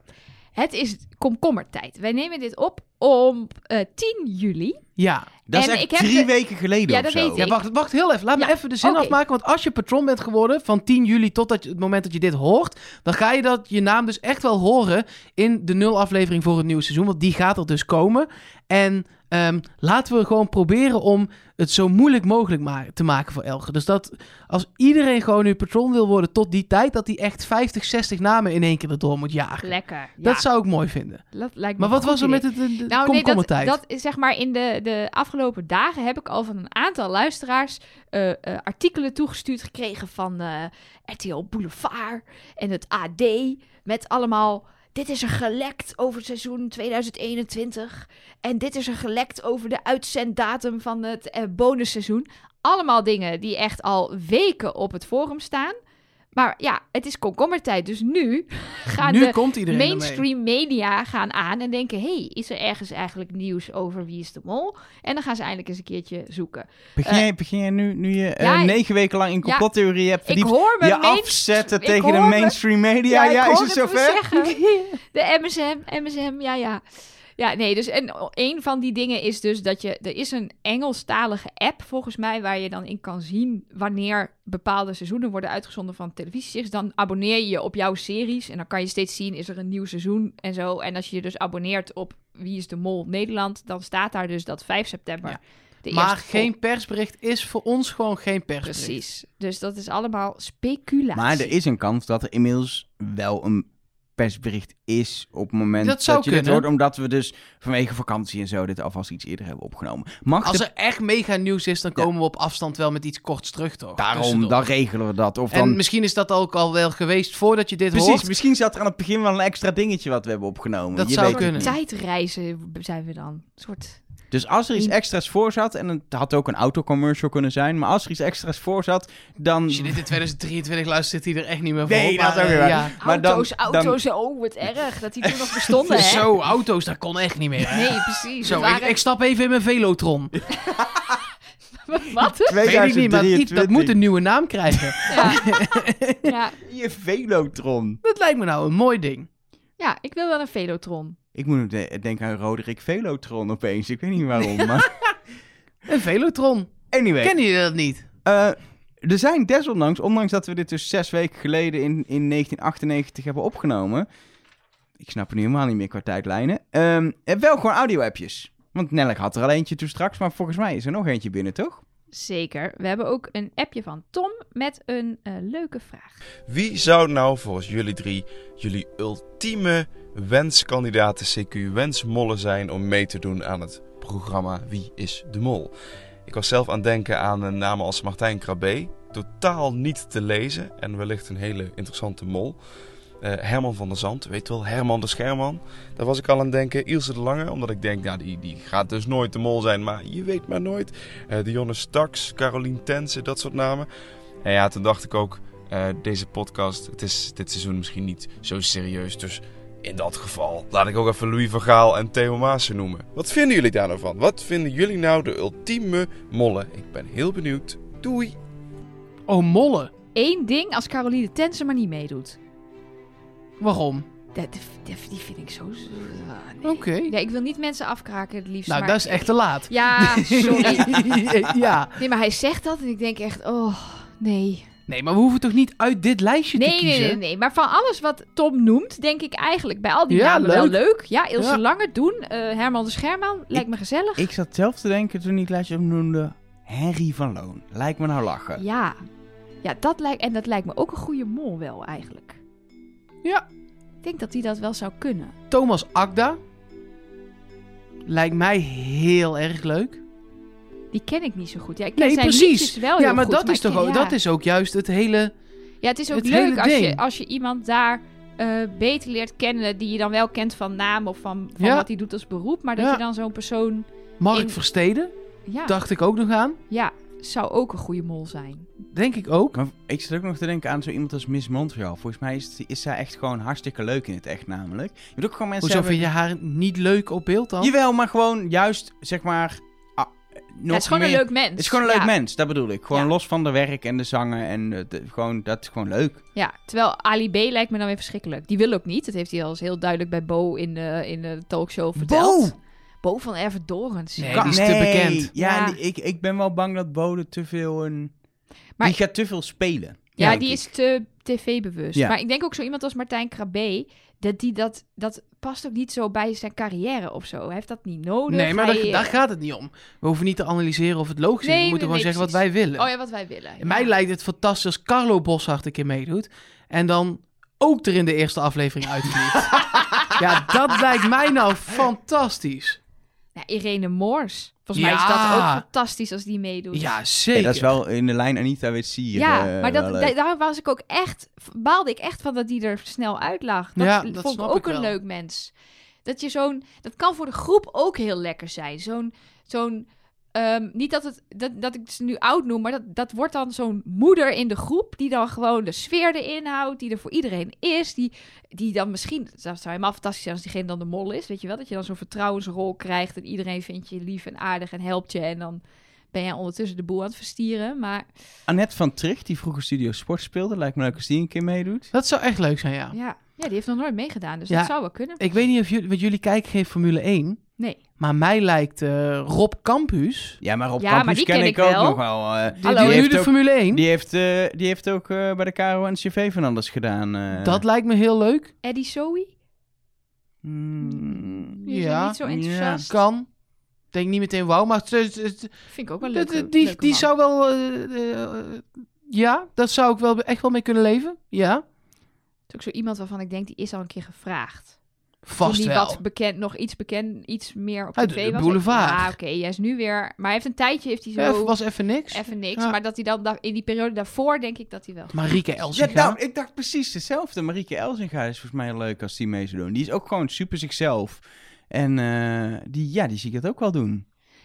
Het is komkommertijd. Wij nemen dit op om eh, 10 juli. Ja. Dat is En echt ik heb drie de- weken geleden Ja, of dat zo. weet ik. Ja, wacht, wacht heel even. Laat me Ja, even de zin oké. afmaken. Want als je patroon bent geworden van 10 juli tot dat, je- het moment dat je dit hoort, dan ga je dat, je naam dus echt wel horen in de nul aflevering voor het nieuwe seizoen. Want die gaat er dus komen. En ehm, laten we gewoon proberen om het zo moeilijk mogelijk ma- te maken voor Elge. Dus dat als iedereen gewoon nu patroon wil worden tot die tijd, dat hij echt 50, 60 namen in één keer erdoor moet jagen. Lekker. Ja, Dat zou ik mooi vinden. dat lijkt me Maar een wat goed was er idee. met het, de, de Nou, nee, dat, komkommertijd? dat is zeg maar in de, de afgelopen dagen heb ik al van een aantal luisteraars eh, eh, artikelen toegestuurd gekregen van eh, RTL Boulevard en het AD. Met allemaal, dit is er gelekt over het seizoen 2021. En dit is er gelekt over de uitzenddatum van het eh, bonusseizoen. Allemaal dingen die echt al weken op het forum staan. Maar ja, het is komkommertijd, dus nu gaan nu de komt iedereen ermee. mainstream media gaan aan en denken: hey, is er ergens eigenlijk nieuws over wie is de mol? En dan gaan ze eindelijk eens een keertje zoeken. Begin, jij, begin jij nu, nu je eh, Eh, ja, ik- negen weken lang in complottheorie hebt Ik verdiept, hoor me je main- afzetten ik tegen de hoor me- mainstream media? Ja, ik is hoor het me zover? zeggen. De MSM, MSM, ja, ja. Ja, nee, dus en een van die dingen is dus dat je... Er is een Engelstalige app, volgens mij, waar je dan in kan zien... wanneer bepaalde seizoenen worden uitgezonden van televisieseries. Dan abonneer je je op jouw series en dan kan je steeds zien... is er een nieuw seizoen en zo. En als je je dus abonneert op Wie is de Mol Nederland... dan staat daar dus dat 5 september... Ja. de Maar eerste geen persbericht is voor ons gewoon geen vol- persbericht. Precies. Dus dat is allemaal speculatie. Maar er is een kans dat er inmiddels wel een persbericht is op het moment Dat zou je dit kunnen. hoort. Omdat we dus vanwege vakantie en zo dit alvast iets eerder hebben opgenomen. Mag Als de- er echt mega nieuws is, dan komen we op afstand wel met iets korts terug, toch? Daarom, Tussendoor. dan regelen we dat. Of En dan... misschien is dat ook al wel geweest voordat je dit Precies, hoort. misschien zat er aan het begin wel een extra dingetje wat we hebben opgenomen. Dat Je zou weet het kunnen. niet. Tijdreizen zijn we dan. Een soort... Dus als Mm. er iets extra's voor zat, en het had ook een autocommercial kunnen zijn, maar als er iets extra's voor zat, dan Als je dit in 2023 luistert, zit hij er echt niet meer voor. Nee, op, dat maar, is ook eh, weer ja. Maar dan- auto's, dan- auto's, oh wat erg dat die toen nog bestonden, hè? Zo, auto's, dat kon echt niet meer. hè? Nee, precies. Zo, dat ik, waren- ik stap even in mijn Velotron. Wat? Weet ik niet, maar iets, dat 2023. moet een nieuwe naam krijgen. Ja. ja. Je Velotron. dat lijkt me nou een mooi ding. ja, ik wil wel een velotron. Ik moet de- denken aan Roderick Velotron opeens. Ik weet niet waarom, maar... Een Velotron. Anyway, Kennen jullie dat niet? eh, er zijn desondanks, ondanks dat we dit dus zes weken geleden in, in 1998 hebben opgenomen... Ik snap er nu helemaal niet meer qua tijdlijnen. ehm, er wel eh, gewoon audio-appjes. Want Nellek had er al eentje toen straks, maar volgens mij is er nog eentje binnen, toch? Zeker. We hebben ook een appje van Tom met een eh, leuke vraag. Wie zou nou volgens jullie drie jullie ultieme wenskandidaten CQ wensmollen zijn om mee te doen aan het programma Wie is de Mol? Ik was zelf aan het denken aan eh, namen als Martijn Krabbe, totaal niet te lezen en wellicht een hele interessante mol. Eh, Herman van der Zand, weet wel, Herman de Scherman. Daar was ik al aan het denken. Ilse de Lange, omdat ik denk, nou, die, die gaat dus nooit de mol zijn, maar je weet maar nooit. Eh Dionne Staks, Caroline Tense, dat soort namen. En ja, toen dacht ik ook, eh, deze podcast. Het is dit seizoen misschien niet zo serieus. Dus in dat geval laat ik ook even Louis van Gaal en Theo Maassen noemen. Wat vinden jullie daar nou van? Wat vinden jullie nou de ultieme mollen? Ik ben heel benieuwd. Doei! Oh, mollen. Eén ding als Caroline Tense maar niet meedoet. Waarom? Nou, Dat, dat- die vind ik zo... ah, nee. Oké. Ja, ik wil niet mensen afkraken het liefst. Nou, maar dat is echt te laat. Ja, sorry. ja. Nee, maar hij zegt dat en ik denk echt, oh, nee. Nee, maar we hoeven toch niet uit dit lijstje Nee, te nee, kiezen? nee, nee. Maar van alles wat Tom noemt, denk ik eigenlijk bij al die Ja, namen wel leuk. leuk. Ja, Ilse Ja. Lange doen, eh, Herman de Scherman, lijkt me gezellig. Ik zat zelf te denken toen ik lijstje noemde. Henry van Loon. Lijkt me nou lachen. Ja, ja dat lijkt, en dat lijkt me ook een goede mol wel eigenlijk. Ja. Ik denk dat hij dat wel zou kunnen. Thomas Akda. Lijkt mij heel erg leuk. Die ken ik niet zo goed. Ja, ik ken Nee, zijn precies. liedjes wel ja, heel maar goed, dat is ik toch ken- ook, ja. dat is ook juist het hele. Ja, het is ook het leuk hele als je, ding. als je iemand daar eh, beter leert kennen... die je dan wel kent van naam of van, van Ja. wat hij doet als beroep... maar dat Ja. je dan zo'n persoon... Mark In- Versteden, Ja, dacht ik ook nog aan. ja, zou ook een goede mol zijn. Denk ik ook. Maar ik zit ook nog te denken aan zo iemand als Miss Montreal. Volgens mij is, is zij echt gewoon hartstikke leuk in het echt namelijk. Je hebt ook gewoon mensen Hoezo hebben- vind je haar niet leuk op beeld dan? Jawel, maar gewoon juist, zeg maar... ah, nog Ja, het is gewoon meer- een leuk mens. Het is gewoon een leuk ja. mens, dat bedoel ik. Gewoon Ja. los van de werk en de zangen en eh, de- gewoon, dat is gewoon leuk. Ja, terwijl Ali B lijkt me dan weer verschrikkelijk. Die wil ook niet. Dat heeft hij al eens heel duidelijk bij Bo in de, in de talkshow verteld. Bo, van Ervedorens. Nee, Ja. die is te bekend. Ja, Ja. die- ik, ik ben wel bang dat Bode te veel een... Maar- die gaat te veel spelen. Ja, denk die ik. is te tv-bewust. Ja. Maar ik denk ook zo iemand als Martijn Krabbe, dat die dat, dat past ook niet zo bij zijn carrière of zo. Hij heeft dat niet nodig. Nee, maar daar, Hij, eh, daar gaat het niet om. We hoeven niet te analyseren of het logisch is. Nee, We moeten nee, gewoon zeggen nee, wat wij willen. Oh ja, wat wij willen. Ja. En Mij lijkt het fantastisch als Carlo Boshart een keer meedoet. En dan ook er in de eerste aflevering uitvliegt. ja, dat lijkt mij nou fantastisch. Nou, Irene Moors. Volgens mij is Ja. dat ook fantastisch als die meedoet. Ja, Ja, zeker. dat is wel in de lijn Anita weet zie je. Ja, eh, maar dat, wel leuk. da- daar was ik ook echt, baalde ik echt van dat die er snel uit lag. Dat Ja, is- dat vond ik snap ook ik een wel. leuk mens. Dat je zo'n, dat kan voor de groep ook heel lekker zijn. Zo'n, zo'n, ehm, niet dat het, dat, dat ik ze nu oud noem, maar dat, dat wordt dan zo'n moeder in de groep die dan gewoon de sfeer erin houdt, die er voor iedereen is, die, die dan misschien, dat zou helemaal fantastisch zijn als diegene dan de mol is, weet je wel, dat je dan zo'n vertrouwensrol krijgt en iedereen vindt je lief en aardig en helpt je en dan ben jij ondertussen de boel aan het verstieren, maar Annette van Tricht, die vroeger Studio Sport speelde. Lijkt me leuk als die een keer meedoet. Dat zou echt leuk zijn, ja. Ja. ja, die heeft nog nooit meegedaan, dus Ja. dat zou wel kunnen. Ik weet niet of jullie, want jullie kijken geen Formule 1. Nee. Maar mij lijkt eh, Rob Campus. Ja, maar op Ja, campus maar die ken, ken ik, ik ook wel. nog wel. eh. Hallo. Die, die Die nu heeft de ook- Formule 1. Die heeft, eh, die heeft ook eh, bij de Caro en CV van alles gedaan. eh. Dat lijkt me heel leuk. Eddie Zoe? Mm, Die is Ja, niet zo enthousiast. Kan. Denk niet meteen wauw, maar het- het- het- Vind ik ook wel het- leuk. het- die, die zou wel... eh, eh, ja, dat zou ik wel echt wel mee kunnen leven. Ja, Het is ook zo iemand waarvan ik denk, die is al een keer gevraagd. Toen vast die wel. wat bekend, nog iets bekend, iets meer op Hij tv doet de was. boulevard. Ja, oké, hij is nu weer... Maar hij heeft een tijdje, heeft hij zo Ja, was even niks. even niks. Ja. Maar dat hij dan da- in die periode daarvoor, denk ik dat hij wel... Marieke Ja, Elsinga. nou, ik dacht precies hetzelfde. Marieke Elzinga is volgens mij heel leuk als die mee zou doen. Die is ook gewoon super zichzelf. En eh, die, ja, die zie ik het ook wel doen.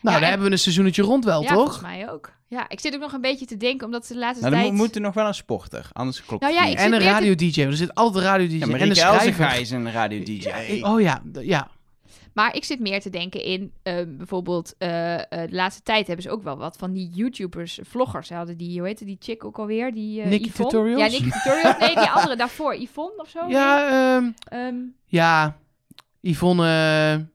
Nou, Ja, daar en- hebben we een seizoentje rond wel, ja, volgens toch? mij ook. Ja, ik zit ook nog een beetje te denken, omdat ze de laatste Nou, dan tijd... moet, moet er nog wel een sporter. Anders klopt Nou het ja, niet. ik zit En een weer te- radio-dj, want er zit altijd een radio-dj. Ja, en een Marieke Elzinga schrijver. is een radio-dj. Oh ja, d- ja. Maar ik zit meer te denken in ehm, bijvoorbeeld eh, eh, de laatste tijd hebben ze ook wel wat van die YouTubers, eh, vloggers. Ze hadden die, hoe heette die chick ook alweer? Die, eh Nikki Yvonne? Tutorials? Ja, Nicky Tutorials. Nee, die andere daarvoor. Yvonne of zo? Ja, ehm, Nee? Ehm, ja. Yvonne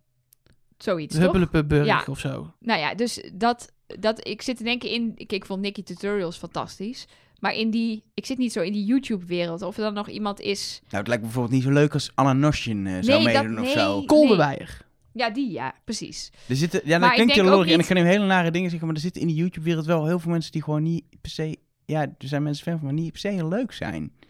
zoiets, uh, toch? Huppelenburg Ja. of zo. Nou ja, dus dat, dat, ik zit te denken in, ik, ik vond Nicky Tutorials fantastisch. Maar in die, ik zit niet zo in die YouTube-wereld. Of er dan nog iemand is... Nou, het lijkt me bijvoorbeeld niet zo leuk als Anna Noshin eh, zou Nee, dat- meedoen of zo. nee. Koldewijer. Ja, die ja, precies. Er zitten, ja, Maar dat ik klinkt heel denk ook lullig en ik niet- ga nu hele nare dingen zeggen, maar er zitten in de YouTube-wereld wel heel veel mensen die gewoon niet per se... Ja, er zijn mensen fan van, maar niet per se heel leuk zijn.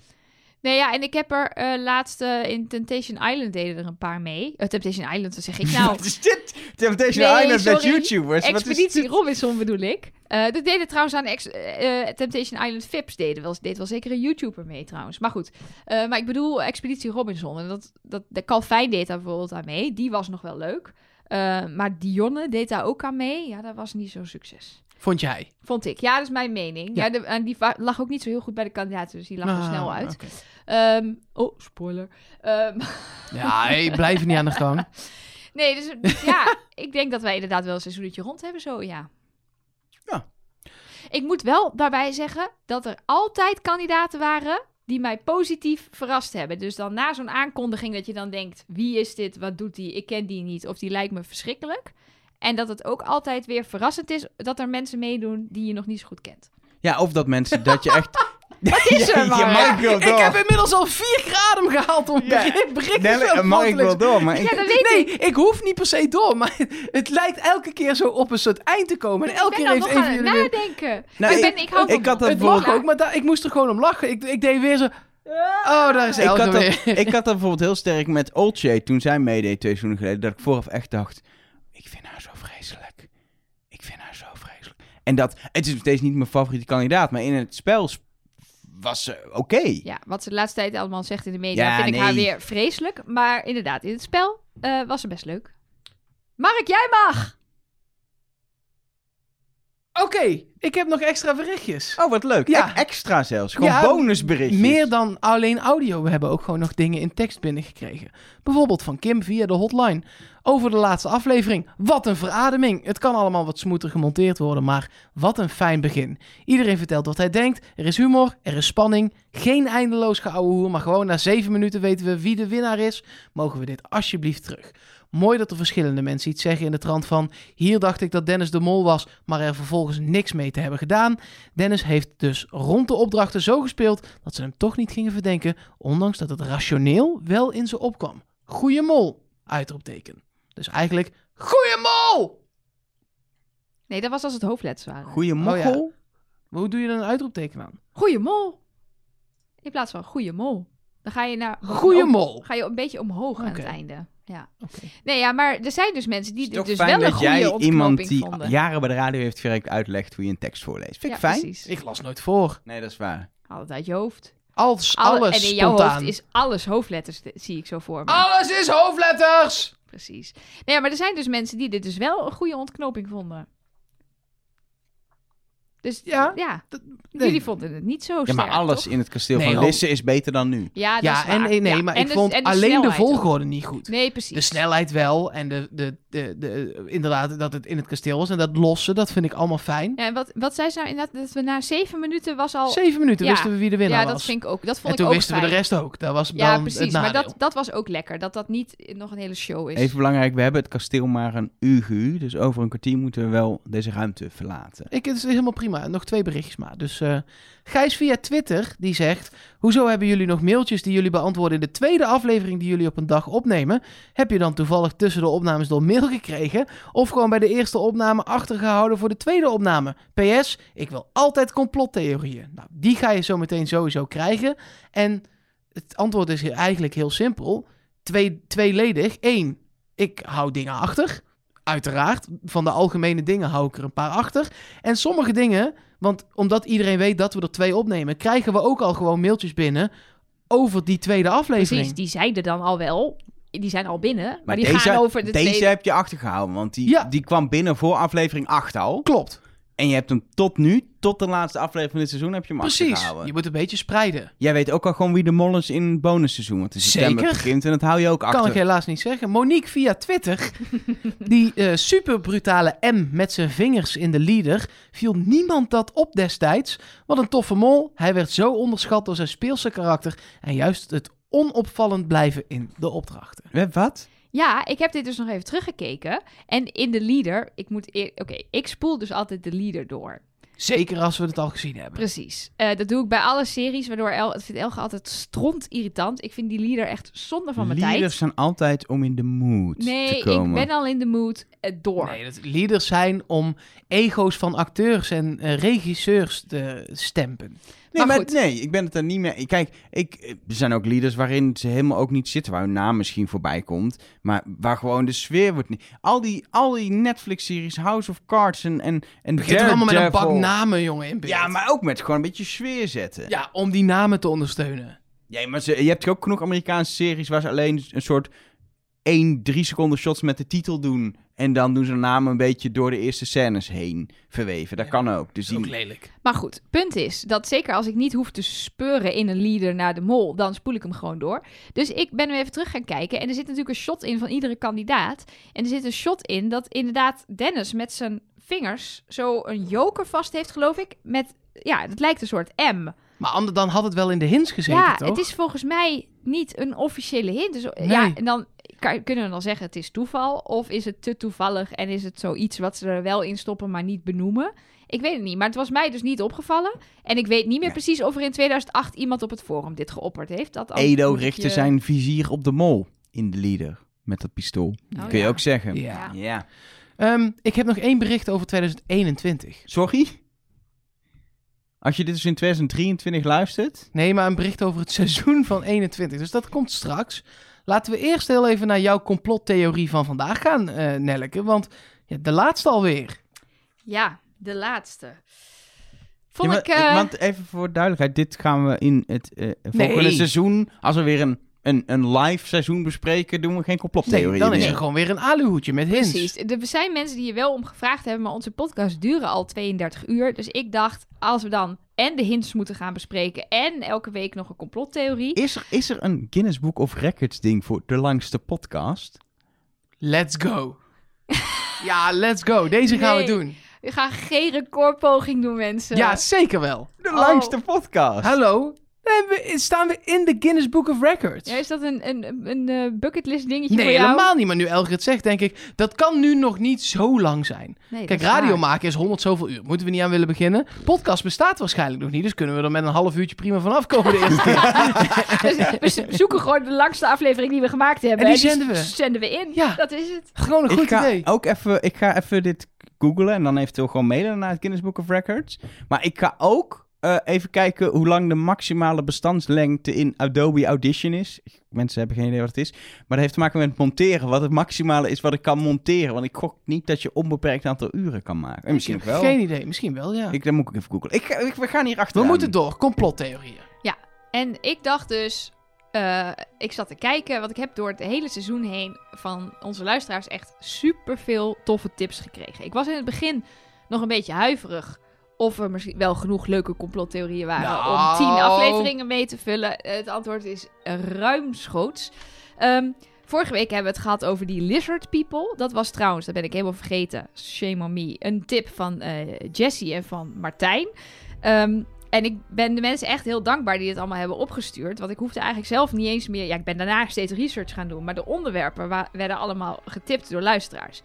Nee, ja, en ik heb er eh laatst eh, in Temptation Island deden er een paar mee. Eh, Temptation Island, wat zeg ik nou? Wat is dit? Temptation Nee, Island met sorry. YouTubers. Wat is Expeditie dit? Robinson bedoel ik. Eh dat deden trouwens aan ex- eh, eh, Temptation Island Vips. Deden wel, deed wel zeker een YouTuber mee trouwens. Maar goed. Eh, maar ik bedoel Expeditie Robinson. En dat, dat, de Calvin deed daar bijvoorbeeld aan mee. Die was nog wel leuk. Eh, maar Dionne deed daar ook aan mee. Ja, dat was niet zo'n succes. Vond jij? Vond ik. Ja, dat is mijn mening. Ja. Ja. de- en die va- lag ook niet zo heel goed bij de kandidaten. Dus die lag er Ah, snel uit. oké. Ehm, oh, spoiler. Ehm, Ja, hey, blijf niet aan de gang. nee, dus dus ja, ik denk dat wij inderdaad wel een seizoenetje rond hebben zo, ja. Ja. Ik moet wel daarbij zeggen dat er altijd kandidaten waren die mij positief verrast hebben. Dus dan na zo'n aankondiging dat je dan denkt... wie is dit, wat doet die, ik ken die niet of die lijkt me verschrikkelijk. En dat het ook altijd weer verrassend is dat er mensen meedoen die je nog niet zo goed kent. Ja, of dat mensen dat je echt... Wat is er, Mark? wil Ik heb inmiddels al vier graden gehaald om Ja. bericht- berichtjes Nelly, zo eh, Mark mogelijk- wil door, maar ik- Ja, dat weet nee, ik. ik hoef niet per se door, maar het lijkt elke keer zo op een soort eind te komen. En elke ik keer ben dan heeft nog even aan het jullie weer... nadenken. Nou, ik, ik- ben, ik hou ik van had dat Het mag bijvoorbeeld- ook, maar daar- ik moest er gewoon om lachen. Ik, ik deed weer zo... Ah. Oh, daar is Dus Ik Elke had, dat, weer. ik had dat bijvoorbeeld heel sterk met Old Shade toen zij meedeed twee seizoenen geleden. Dat ik vooraf echt dacht, ik vind haar zo vreselijk. Ik vind haar zo vreselijk. En dat, het is nog steeds niet mijn favoriete kandidaat, maar in het spel sp- was ze oké. Ja, wat ze de laatste tijd allemaal zegt in de media, Ja, vind ik haar nee. weer vreselijk. Maar inderdaad, in het spel eh, was ze best leuk. Mark, jij mag! Oké, ik heb nog extra berichtjes. Oh, wat leuk. Ja. E- extra zelfs. Gewoon Ja, bonusberichtjes. Meer dan alleen audio, we hebben ook gewoon nog dingen in tekst binnengekregen. Bijvoorbeeld van Kim via de hotline. Over de laatste aflevering. Wat een verademing. Het kan allemaal wat smoeter gemonteerd worden, maar wat een fijn begin. Iedereen vertelt wat hij denkt. Er is humor, er is spanning. Geen eindeloos geouwehoer, maar gewoon na zeven minuten weten we wie de winnaar is. Mogen we dit alsjeblieft terug? Mooi dat er verschillende mensen iets zeggen in de trant van... hier dacht ik dat Dennis de Mol was, maar er vervolgens niks mee te hebben gedaan. Dennis heeft dus rond de opdrachten zo gespeeld dat ze hem toch niet gingen verdenken, ondanks dat het rationeel wel in ze opkwam. Goeie mol, uitroepteken. Dus eigenlijk, goeie mol! Nee, dat was als het hoofdletters waren. Goeie Oh ja. mokkel. Maar hoe doe je dan een uitroepteken aan? Goeie mol! In plaats van goeie mol. Dan ga je naar... Goeie om- mol! Ga je een beetje omhoog aan het Oké. einde. Ja. Oké. Nee, ja, maar er zijn dus mensen die Het is dit dus toch fijn wel een dat goede jij iemand ontknoping die vonden. jaren bij de radio heeft gewerkt uitlegt hoe je een tekst voorleest. Vind ik Ja, fijn. precies. Ik las nooit voor. Nee, dat is waar. Haal het uit je hoofd. Als Alle- alles en in jouw spontaan. hoofd is alles hoofdletters, d- zie ik zo voor me. Alles is hoofdletters! Precies. Nee, maar er zijn dus mensen die dit dus wel een goede ontknoping vonden. Dus Ja. ja. Nee. Jullie vonden het niet zo Ja, sterk, maar alles toch? in het kasteel Nee, van hoor. Lisse is beter dan nu. Ja, dat Ja, is waar. en, nee, nee, Ja, maar en ik de- vond en alleen de snelheid ook. volgorde niet goed. Nee, precies. De snelheid wel en de, de, de, de, inderdaad dat het in het kasteel was en dat lossen, dat vind ik allemaal fijn. Ja, en wat, wat zei ze nou inderdaad? Dat we na zeven minuten was al... Zeven minuten Oh, Ja. wisten we wie de winnaar ja, was. dat vind ik ook. Dat vond en ik toen ook wisten we de fijn. rest ook. Dat was Ja, dan het precies. Maar nadeel. dat, dat was ook lekker. Dat dat niet eh, nog een hele show is. Even belangrijk, we hebben het kasteel maar een uur gehuurd. Dus over een kwartier moeten we wel deze ruimte verlaten. Ik, het is helemaal prima. Nog twee berichtjes maar. Dus eh, Gijs via Twitter, die zegt... Hoezo hebben jullie nog mailtjes die jullie beantwoorden in de tweede aflevering die jullie op een dag opnemen? Heb je dan toevallig tussen de opnames door mail gekregen? Of gewoon bij de eerste opname achtergehouden voor de tweede opname? PS, ik wil altijd complottheorieën. Nou, die ga je zo meteen sowieso krijgen. En het antwoord is hier eigenlijk heel simpel. Twee, tweeledig. Eén, ik hou dingen achter. Uiteraard, van de algemene dingen hou ik er een paar achter. En sommige dingen, want omdat iedereen weet dat we er twee opnemen, krijgen we ook al gewoon mailtjes binnen over die tweede aflevering. Precies, die zeiden dan al wel. Die zijn al binnen. Maar, die deze, gaan over de deze tweede... heb je achtergehouden, want die, Ja. die kwam binnen voor aflevering 8 al. Klopt, En je hebt hem tot nu, tot de laatste aflevering van dit seizoen, heb je hem precies. achtergehouden. Je moet een beetje spreiden. Jij weet ook al gewoon wie de mol is in het bonusseizoen. Want in september Zeker. begint en dat hou je ook achter. Kan ik helaas niet zeggen. Monique via Twitter, die eh super brutale M met zijn vingers in de leader, viel niemand dat op destijds. Wat een toffe mol. Hij werd zo onderschat door zijn speelse karakter en juist het onopvallend blijven in de opdrachten. Hè, Wat? Ja, ik heb dit dus nog even teruggekeken. En in de leader, ik moet... eer- Oké, ik spoel dus altijd de leader door. Zeker als we het al gezien hebben. Precies. Eh, dat doe ik bij alle series, waardoor El, het vindt Elge altijd stront irritant. Ik vind die leader echt zonde van mijn tijd. Leaders zijn altijd om in de mood Nee, te ik komen. ben al in de mood eh, door. Nee, dat leaders zijn om ego's van acteurs en eh, regisseurs te stempen. Nee, Maar maar goed. nee, ik ben het er niet mee. Kijk, ik, eh, er zijn ook leaders waarin ze helemaal ook niet zitten, waar hun naam misschien voorbij komt, maar waar gewoon de sfeer wordt niet. Al die, al die Netflix-series, House of Cards en en en Begint toch allemaal met een bak Daredevil. namen, jongen, in beeld. Ja, maar ook met gewoon een beetje sfeer zetten. Ja, om die namen te ondersteunen. Ja, maar ze, je hebt ook genoeg Amerikaanse series waar ze alleen een soort 1, 3 seconden shots met de titel doen. En dan doen ze hun naam een beetje door de eerste scènes heen verweven. Dat kan ook. Dus Dat is ook die, lelijk. Maar goed, punt is dat zeker als ik niet hoef te speuren in een leader naar de mol, dan spoel ik hem gewoon door. Dus ik ben hem even terug gaan kijken en er zit natuurlijk een shot in van iedere kandidaat. En er zit een shot in dat inderdaad Dennis met zijn vingers zo een joker vast heeft, geloof ik. Met, ja, dat lijkt een soort M. Maar ander dan had het wel in de hints gezeten, ja, toch? het is volgens mij niet een officiële hint. Dus, Nee. Ja, en dan kan- kunnen we dan zeggen het is toeval of is het te toevallig en is het zoiets wat ze er wel in stoppen, maar niet benoemen. Ik weet het niet, maar het was mij dus niet opgevallen. En ik weet niet meer Nee. precies of er in 2008 iemand op het forum dit geopperd heeft. Dat antwoord Edo moet ik eh, richtte je- zijn vizier op de mol in de leader. Met dat pistool. Oh, Kun je ja. ook zeggen. Ja. Ja. Ja. Ehm, ik heb nog één bericht over 2021. Sorry? Als je dit dus in 2023 luistert. Nee, maar een bericht over het seizoen van 21. Dus dat komt straks. Laten we eerst heel even naar jouw complottheorie van vandaag gaan, eh, Nelleke. Want ja, de laatste alweer. Ja, de laatste. Vond Ja, ik... maar- eh, Want even voor duidelijkheid. Dit gaan we in het eh, volgende Nee. seizoen. Als we weer een, een, een live seizoen bespreken. doen we geen complottheorie Nee, dan is meer. er gewoon weer een aluhoedje met hints. Precies. Er zijn mensen die je wel om gevraagd hebben, maar onze podcast duren al 32 uur. Dus ik dacht, als we dan en de hints moeten gaan bespreken en elke week nog een complottheorie. Is er, is er een Guinness Book of Records ding voor de langste podcast? Oh. Let's go. ja, let's go. Deze gaan we Nee. doen. We gaan geen recordpoging doen, mensen. Ja, zeker wel. De Oh. langste podcast? Hallo? Nee, we- staan we in de Guinness Book of Records? Ja, is dat een, een, een eh, bucketlist dingetje nee, voor jou? helemaal niet. Maar nu Elger het zegt, denk ik, dat kan nu nog niet zo lang zijn. Nee, dat Kijk, is radio waar. maken is honderd zoveel uur. Moeten we niet aan willen beginnen. Podcast bestaat waarschijnlijk nog niet, dus kunnen we er met een half uurtje prima vanaf komen de eerste keer. Dus we z- zoeken gewoon de langste aflevering die we gemaakt hebben. En die s- zenden we. zenden we in. Ja. Dat is het. Gewoon een goed ik ga Oh, idee. ook even, ik ga even dit googlen en dan eventueel gewoon mailen naar het Guinness Book of Records. Maar ik ga ook eh, even kijken hoe lang de maximale bestandslengte in Adobe Audition is. Ik- Mensen hebben geen idee wat het is. Maar dat heeft te maken met het monteren. Wat het maximale is wat ik kan monteren. Want ik gok niet dat je onbeperkt aantal uren kan maken. Eh, misschien ook wel. Geen idee, misschien wel, ja. Ik, dan moet ik even googlen. Ik, ga- ik- we gaan hier We achter. moeten door, complottheorieën. En ik dacht dus, eh, ik zat te kijken, want ik heb door het hele seizoen heen van onze luisteraars echt super veel toffe tips gekregen. Ik was in het begin nog een beetje huiverig of er misschien wel genoeg leuke complottheorieën waren Nou. om tien afleveringen mee te vullen. Het antwoord is ruimschoots. Ehm, vorige week hebben we het gehad over die lizard people. Dat was trouwens, dat ben ik helemaal vergeten, shame on me, een tip van eh Jessie en van Martijn. Ehm, en ik ben de mensen echt heel dankbaar die dit allemaal hebben opgestuurd. Want ik hoefde eigenlijk zelf niet eens meer. Ja, ik ben daarna steeds research gaan doen. Maar de onderwerpen wa- werden allemaal getipt door luisteraars.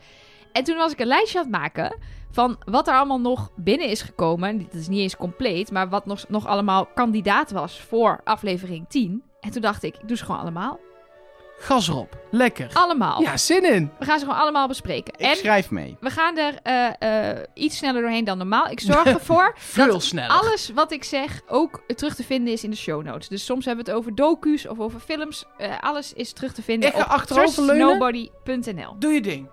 En toen was ik een lijstje aan het maken van wat er allemaal nog binnen is gekomen. Dat is niet eens compleet, maar wat nog, nog allemaal kandidaat was voor aflevering 10. En toen dacht ik, ik doe ze gewoon allemaal. Gas erop. Lekker. Allemaal. Ja, zin in. We gaan ze gewoon allemaal bespreken. Ik en schrijf mee. we gaan er eh, eh, iets sneller doorheen dan normaal. Ik zorg ervoor Veel sneller. Alles wat ik zeg ook terug te vinden is in de show notes. Dus soms hebben we het over docu's of over films. Eh, alles is terug te vinden Ik ga op achteroverleunen. searchnobody.nl. Doe je ding.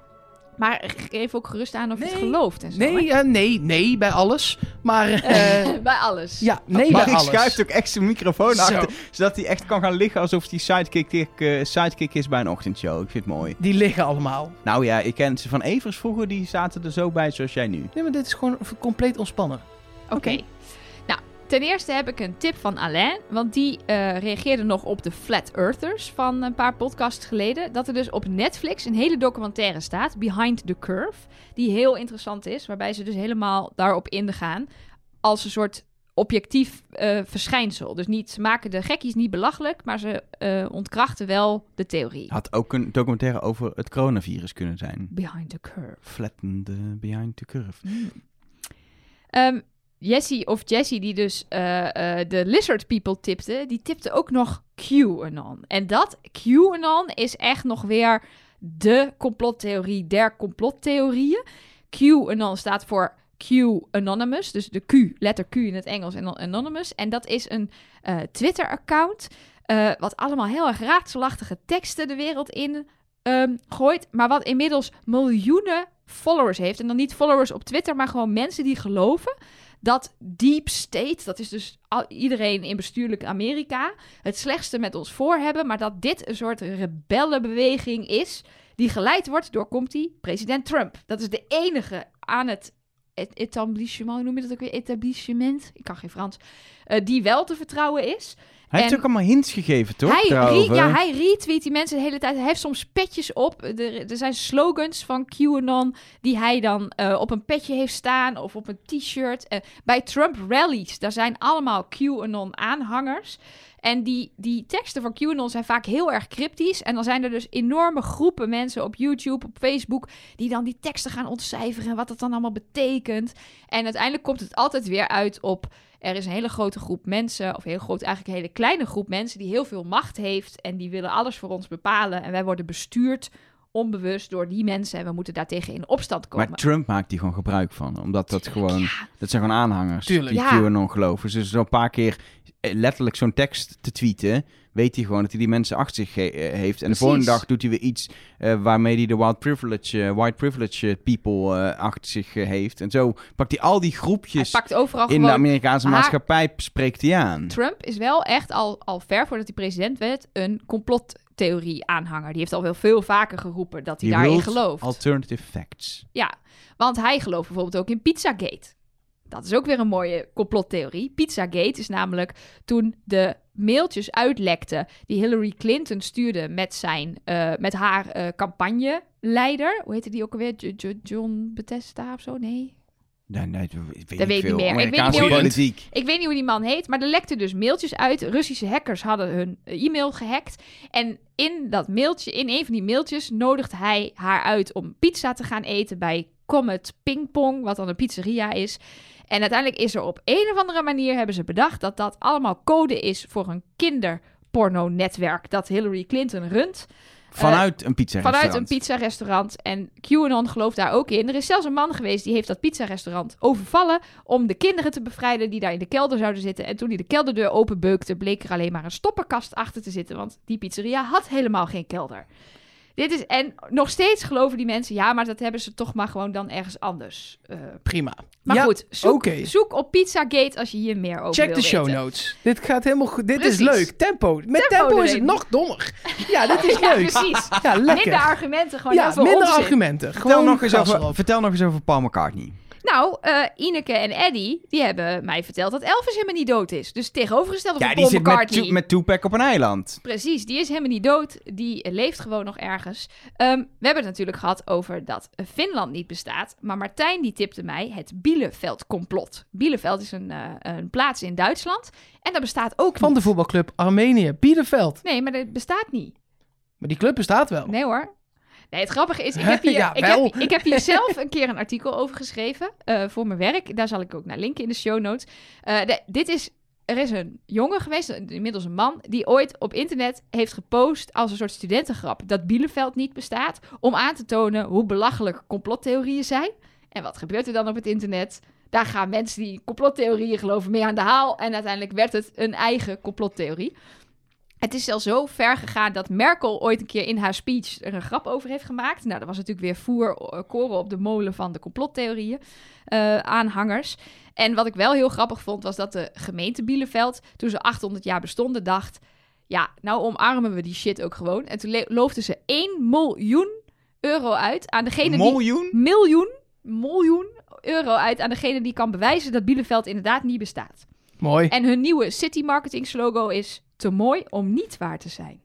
Maar geef ook gerust aan of je het Nee. gelooft en zo. Nee, hè? eh, nee, nee, bij alles. Maar, eh, Bij alles. ja, nee maar bij ik alles. schuift ook echt zijn microfoon Zo. achter. Zodat hij echt kan gaan liggen alsof hij sidekick, eh, sidekick is bij een ochtendshow. Ik vind het mooi. Die liggen allemaal. Nou ja, ik ken ze van Evers vroeger, die zaten er zo bij zoals jij nu. Nee, maar dit is gewoon v- compleet ontspannen. Oké. Nou, ten eerste heb ik een tip van Alain. Want die eh, reageerde nog op de Flat Earthers van een paar podcasts geleden. Dat er dus op Netflix een hele documentaire staat, Behind the Curve. Die heel interessant is, waarbij ze dus helemaal daarop ingaan. Als een soort objectief eh, verschijnsel. Dus niet, ze maken de gekkies niet belachelijk, maar ze eh, ontkrachten wel de theorie. Had ook een documentaire over het coronavirus kunnen zijn. Behind the Curve. Flatten the behind the curve. Ehm, Jessie of Jessie, die dus eh, eh, de Lizard People tipte, die tipte ook nog QAnon. En dat QAnon is echt nog weer de complottheorie der complottheorieën. QAnon staat voor Q Anonymous, dus de Q, letter Q in het Engels en dan Anonymous. En dat is een eh, Twitter-account, eh, wat allemaal heel erg raadselachtige teksten de wereld in ehm, gooit, maar wat inmiddels miljoenen followers heeft. En dan niet followers op Twitter, maar gewoon mensen die geloven dat deep state, dat is dus al, iedereen in bestuurlijk Amerika, het slechtste met ons voor hebben, maar dat dit een soort rebellenbeweging is die geleid wordt door, komt die, president Trump. Dat is de enige aan het et- etablissement, hoe noem je dat ook weer, etablissement, ik kan geen Frans, eh, die wel te vertrouwen is. Hij heeft En- ook allemaal hints gegeven, toch? Hij, re- daarover? ja, hij retweet die mensen de hele tijd. Hij heeft soms petjes op. Er, er zijn slogans van QAnon die hij dan eh, op een petje heeft staan of op een t-shirt. Eh, bij Trump rallies, daar zijn allemaal QAnon aanhangers. En die, die teksten van QAnon zijn vaak heel erg cryptisch. En dan zijn er dus enorme groepen mensen op YouTube, op Facebook, die dan die teksten gaan ontcijferen en wat dat dan allemaal betekent. En uiteindelijk komt het altijd weer uit op er is een hele grote groep mensen, of heel groot, eigenlijk een hele kleine groep mensen, die heel veel macht heeft en die willen alles voor ons bepalen. En wij worden bestuurd onbewust door die mensen en we moeten daartegen in opstand komen. Maar Trump maakt die gewoon gebruik van. Omdat dat gewoon... Ja, Dat zijn gewoon aanhangers Tuurlijk. die Ja. QAnon geloven. Dus zo'n paar keer eh, letterlijk zo'n tekst te tweeten... weet hij gewoon dat hij die mensen achter zich ge- eh, heeft. En de Precies. volgende dag doet hij weer iets... eh, waarmee hij de white privilege, eh, white privilege eh, people eh, achter zich eh, heeft. En zo pakt hij al die hij groepjes pakt overal in de gewoon... Amerikaanse haar- maatschappij... spreekt hij aan. Trump is wel echt al, al ver voordat hij president werd een complottheorie aanhanger. Die heeft al wel veel vaker geroepen dat hij Je daarin wilt gelooft. Alternative facts. Ja, want hij gelooft bijvoorbeeld ook in Pizzagate. Dat is ook weer een mooie complottheorie. Pizzagate is namelijk toen de mailtjes uitlekten die Hillary Clinton stuurde met, zijn, eh, met haar eh campagneleider. Hoe heette die ook alweer? Jo- Jo- John Bethesda of zo? Nee. Nee, nee, dat weet, weet ik veel. niet meer. Ik weet niet Amerikaanse hoe die- politiek. Ik weet niet hoe die man heet, maar er lekten dus mailtjes uit. Russische hackers hadden hun eh, e-mail gehackt. En in dat mailtje, in een van die mailtjes, nodigt hij haar uit om pizza te gaan eten bij Comet Ping Pong, wat dan een pizzeria is. En uiteindelijk is er op een of andere manier hebben ze bedacht dat dat allemaal code is voor een kinderporno-netwerk dat Hillary Clinton runt. Vanuit een pizza Vanuit een pizzarestaurant. En QAnon gelooft daar ook in. Er is zelfs een man geweest die heeft dat pizzarestaurant overvallen... om de kinderen te bevrijden die daar in de kelder zouden zitten. En toen hij de kelderdeur openbeukte... bleek er alleen maar een stopperkast achter te zitten... want die pizzeria had helemaal geen kelder. Dit is, en nog steeds geloven die mensen... ja, maar dat hebben ze toch maar gewoon dan ergens anders. Eh, Prima. maar Ja, goed, zoek, oké. zoek op Pizzagate als je hier meer over Check wil de show weten. notes. Dit gaat helemaal goed. Dit is Precies. leuk. Tempo. Met tempo, Tempo is het erin. nog dommer. Ja, dit is Ja, leuk. precies. Ja, lekker. Minder argumenten, gewoon ja, heel veel minder onzin. argumenten. Vertel Gewoon nog, eens gas over, erop. vertel nog eens over Paul McCartney. Nou, eh, Ineke en Eddie, die hebben mij verteld dat Elvis helemaal niet dood is. Dus tegenovergestelde Ja, van die Paul zit met, McCartney. Tu- met Tupac op een eiland. Precies, die is helemaal niet dood. Die leeft gewoon nog ergens. Ehm, we hebben het natuurlijk gehad over dat Finland niet bestaat. Maar Martijn die tipte mij het Bielefeld-complot. Bielefeld is een, eh, een plaats in Duitsland. En dat bestaat ook Van niet. de voetbalclub Armenië, Bielefeld. Nee, maar dat bestaat niet. Maar die club bestaat wel. Nee hoor. Nee, het grappige is, ik heb hier, Ja, ik wel. heb, ik heb hier zelf een keer een artikel over geschreven eh, voor mijn werk. Daar zal ik ook naar linken in de show notes. Eh, de- dit is, er is een jongen geweest, een- inmiddels een man, die ooit op internet heeft gepost als een soort studentengrap dat Bielefeld niet bestaat, om aan te tonen hoe belachelijk complottheorieën zijn. En wat gebeurt er dan op het internet? Daar gaan mensen die complottheorieën geloven mee aan de haal. En uiteindelijk werd het een eigen complottheorie. Het is zelfs zo ver gegaan dat Merkel ooit een keer in haar speech er een grap over heeft gemaakt. Nou, dat was natuurlijk weer voer eh, koren op de molen van de complottheorieën eh, aanhangers. En wat ik wel heel grappig vond, was dat de gemeente Bielefeld, toen ze 800 jaar bestonden, dacht... Ja, nou omarmen we die shit ook gewoon. En toen le- loofden ze 1 miljoen euro uit aan degene die Miljoen? miljoen, miljoen euro uit aan degene die kan bewijzen dat Bielefeld inderdaad niet bestaat. Mooi. En hun nieuwe city marketing slogan is te mooi om niet waar te zijn.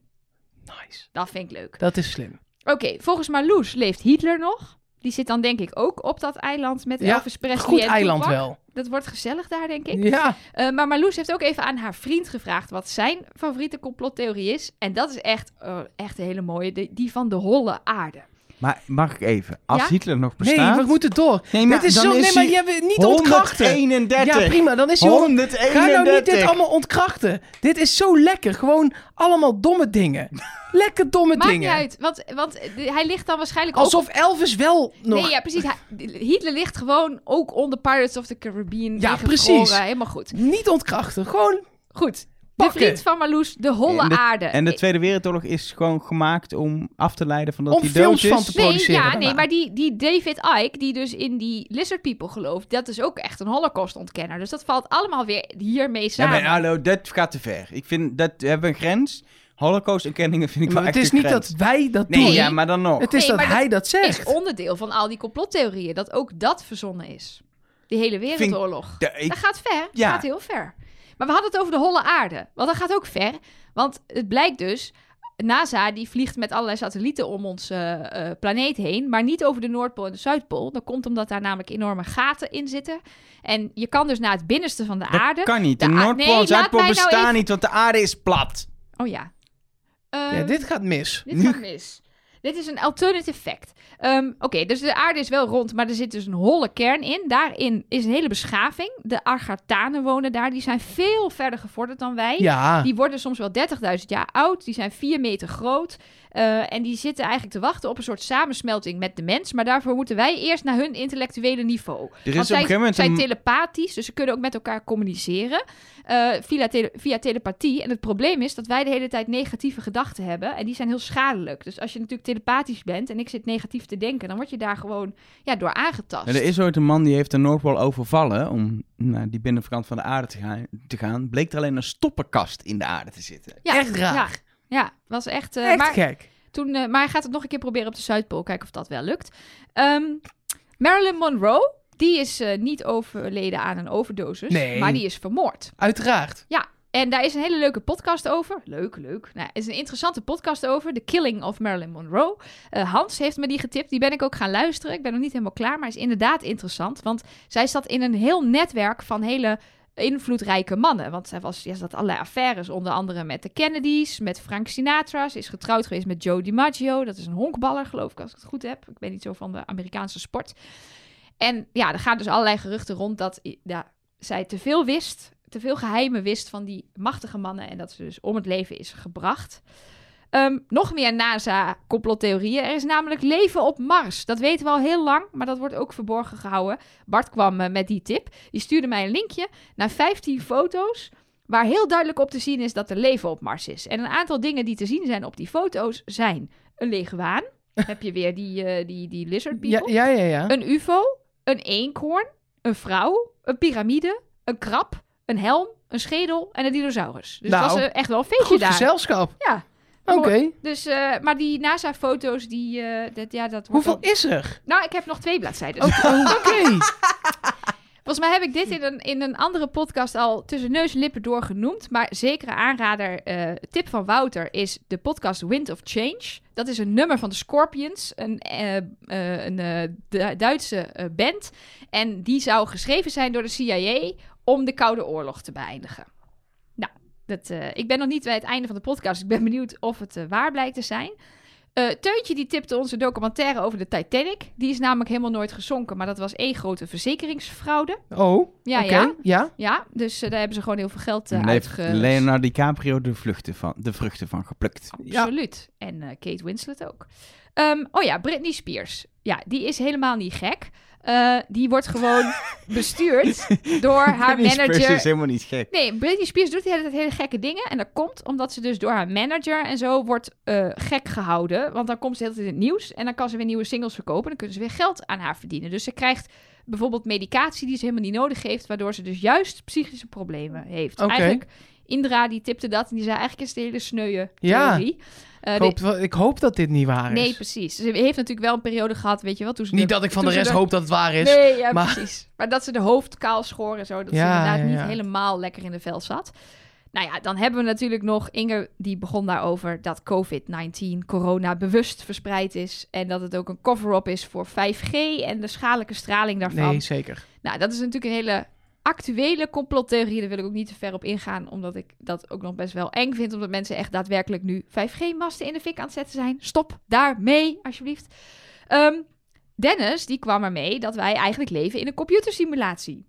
Nice. Dat vind ik leuk. Dat is slim. Oké, volgens Marloes leeft Hitler nog. Die zit dan denk ik ook op dat eiland met Ja, Elvis Presley Goed en eiland Tupac. wel. Dat wordt gezellig daar, denk ik. Ja. Eh, maar Marloes heeft ook even aan haar vriend gevraagd wat zijn favoriete complottheorie is. En dat is echt, eh, echt een hele mooie, die, die van de holle aarde. Maar mag ik even? Als Ja? Hitler nog Nee, bestaat... we moeten door. Nee, maar dit is dan zo... nee, is maar hij jij hebt niet ontkrachten. 131. Ja, prima. Dan is hij... hond- 131. Ga nou niet dit allemaal ontkrachten. Dit is zo lekker. Gewoon allemaal domme dingen. Lekker domme Maakt niet dingen. uit, want, want eh, hij ligt dan waarschijnlijk ook... Alsof Elvis wel nog... Nee, ja, precies. Hij- Hitler ligt gewoon ook onder Pirates of the Caribbean. Ja, ingevroren. precies. Helemaal goed. Niet ontkrachten. Gewoon... Goed. Pakken. De vriend van Marloes, de holle En de- aarde. En de Tweede Wereldoorlog is gewoon gemaakt om af te leiden van dat Om hij films dood is. van te- Nee, produceren ja, daarna. nee, maar die, die David Icke, die dus in die Lizard People gelooft, dat is ook echt een holocaustontkenner. Dus dat valt allemaal weer hiermee Ja, samen. maar hallo, dat gaat te ver. Ik vind, dat we hebben een grens. Holocaust-erkenningen vind ik Maar wel het echt is een niet grens. dat wij dat Nee, doen. Nee. ja, maar dan nog. Het is Nee, dat maar hij dat is zegt. onderdeel van al die complottheorieën, dat ook dat verzonnen is. Die hele wereldoorlog. De- ik- Dat gaat ver. Ja. Dat gaat heel ver. Maar we hadden het over de holle aarde. Want dat gaat ook ver. Want het blijkt dus... NASA die vliegt met allerlei satellieten om onze eh, eh, planeet heen... maar niet over de Noordpool en de Zuidpool. Dat komt omdat daar namelijk enorme gaten in zitten. En je kan dus naar het binnenste van de dat aarde... kan niet. De, de aar- Nee, Noordpool en laat Zuidpool mij nou bestaan even- niet, want de aarde is plat. Oh ja. Eh, Ja, dit gaat mis. Dit gaat mis. Dit is een alternative fact. Ehm, Oké, dus de aarde is wel rond, maar er zit dus een holle kern in. Daarin is een hele beschaving. De Argatanen wonen daar. Die zijn veel verder gevorderd dan wij. Ja. Die worden soms wel 30.000 jaar oud. Die zijn 4 meter groot. Eh, en die zitten eigenlijk te wachten op een soort samensmelting met de mens. Maar daarvoor moeten wij eerst naar hun intellectuele niveau. een Want zij gegeven moment zijn een- telepathisch, dus ze kunnen ook met elkaar communiceren eh, via, tele- via telepathie. En het probleem is dat wij de hele tijd negatieve gedachten hebben. En die zijn heel schadelijk. Dus als je natuurlijk telepathisch bent en ik zit negatief te denken... dan word je daar gewoon ja, door aangetast. Er is ooit een man die heeft de Noordpool overvallen om naar die binnenkant van de aarde te gaan, te gaan. Bleek er alleen een stoppenkast in de aarde te zitten. ja, echt raar. Ja, ja, was echt... eh, Echt maar- gek. Toen, eh, maar hij gaat het nog een keer proberen op de Zuidpool. Kijken of dat wel lukt. Ehm, Marilyn Monroe, die is eh, niet overleden aan een overdosis. Nee. Maar die is vermoord. Uiteraard. En daar is een hele leuke podcast over. Leuk, leuk. Nou, er is een interessante podcast over. The Killing of Marilyn Monroe. Eh, Hans heeft me die getipt. Die ben ik ook gaan luisteren. Ik ben nog niet helemaal klaar, maar is inderdaad interessant. Want zij zat in een heel netwerk van hele invloedrijke mannen. Want zij was, ja, ze had allerlei affaires. Onder andere met de Kennedys, met Frank Sinatra. Ze is getrouwd geweest met Joe DiMaggio. Dat is een honkballer, geloof ik, als ik het goed heb. Ik ben niet zo van de Amerikaanse sport. En ja, er gaan dus allerlei geruchten rond dat ja, zij te veel wist, te veel geheimen wist van die machtige mannen en dat ze dus om het leven is gebracht. Ehm, nog meer NASA-complottheorieën. Er is namelijk leven op Mars. Dat weten we al heel lang, maar dat wordt ook verborgen gehouden. Bart kwam eh, met die tip. Die stuurde mij een linkje naar 15 foto's. Waar heel duidelijk op te zien is dat er leven op Mars is. En een aantal dingen die te zien zijn op die foto's zijn een lege waan. Heb je weer die, eh, die, die lizard people? Ja, ja, ja. ja. Een UFO, een eenkhoorn, een vrouw, een piramide, een krab, een helm, een schedel en een dinosaurus. Dus Nou, dat was eh, echt wel een feestje Goed daar. gezelschap. Ja. Oké. Dus, eh, maar die NASA-foto's, die, eh, dat, ja, dat wordt Hoeveel al- is er? Oh, Nou, ik heb nog twee bladzijden. Oké. Volgens mij heb ik dit in een, in een andere podcast al tussen neus en lippen door genoemd. Maar zekere aanrader, eh, tip van Wouter, is de podcast Wind of Change. Dat is een nummer van de Scorpions, een, eh, eh, een eh, Du- Duitse eh, band. En die zou geschreven zijn door de CIA om de Koude Oorlog te beëindigen. Nou, dat, eh, ik ben nog niet bij het einde van de podcast. Ik ben benieuwd of het eh, waar blijkt te zijn. Eh, Teuntje die tipte onze documentaire over de Titanic. Die is namelijk helemaal nooit gezonken, maar dat was één grote verzekeringsfraude. Oh. Ja, oké. ja. Ja. Ja, dus eh, daar hebben ze gewoon heel veel geld En uit daar heeft uitge... Leonardo DiCaprio de, vluchten van, de vruchten van geplukt. Absoluut. En eh, Kate Winslet ook. Ehm, oh ja, Britney Spears. Ja, die is helemaal niet gek. Eh, die wordt gewoon bestuurd door haar Britney Spears manager. is helemaal niet gek. Nee, Britney Spears doet de hele tijd hele gekke dingen. En dat komt omdat ze dus door haar manager en zo wordt eh, gek gehouden. Want dan komt ze de hele tijd in het nieuws. En dan kan ze weer nieuwe singles verkopen. En dan kunnen ze weer geld aan haar verdienen. Dus ze krijgt bijvoorbeeld medicatie die ze helemaal niet nodig heeft. Waardoor ze dus juist psychische problemen heeft. Oké. Eigenlijk, Indra die tipte dat. En die zei eigenlijk is het een hele sneuwe Ja. theorie. Eh, Ik de- hoop, wel- ik hoop dat dit niet waar is. nee, precies. Ze heeft natuurlijk wel een periode gehad, weet je wel. Toen ze Niet de- dat ik van de toen ze rest de- hoop dat het waar is. Nee, ja, maar- precies. Maar dat ze de hoofd kaal schoor en zo. Dat ze Ja, inderdaad ja, ja. niet helemaal lekker in de vel zat. Nou ja, dan hebben we natuurlijk nog... Inge, die begon daarover dat COVID-19 corona bewust verspreid is. En dat het ook een cover-up is voor 5G en de schadelijke straling daarvan. Nee, zeker. Nou, dat is natuurlijk een hele actuele complottheorie. Daar wil ik ook niet te ver op ingaan, omdat ik dat ook nog best wel eng vind. Omdat mensen echt daadwerkelijk nu 5G-masten in de fik aan het zetten zijn. Stop daarmee, alsjeblieft. Ehm, Dennis, die kwam ermee dat wij eigenlijk leven in een computersimulatie.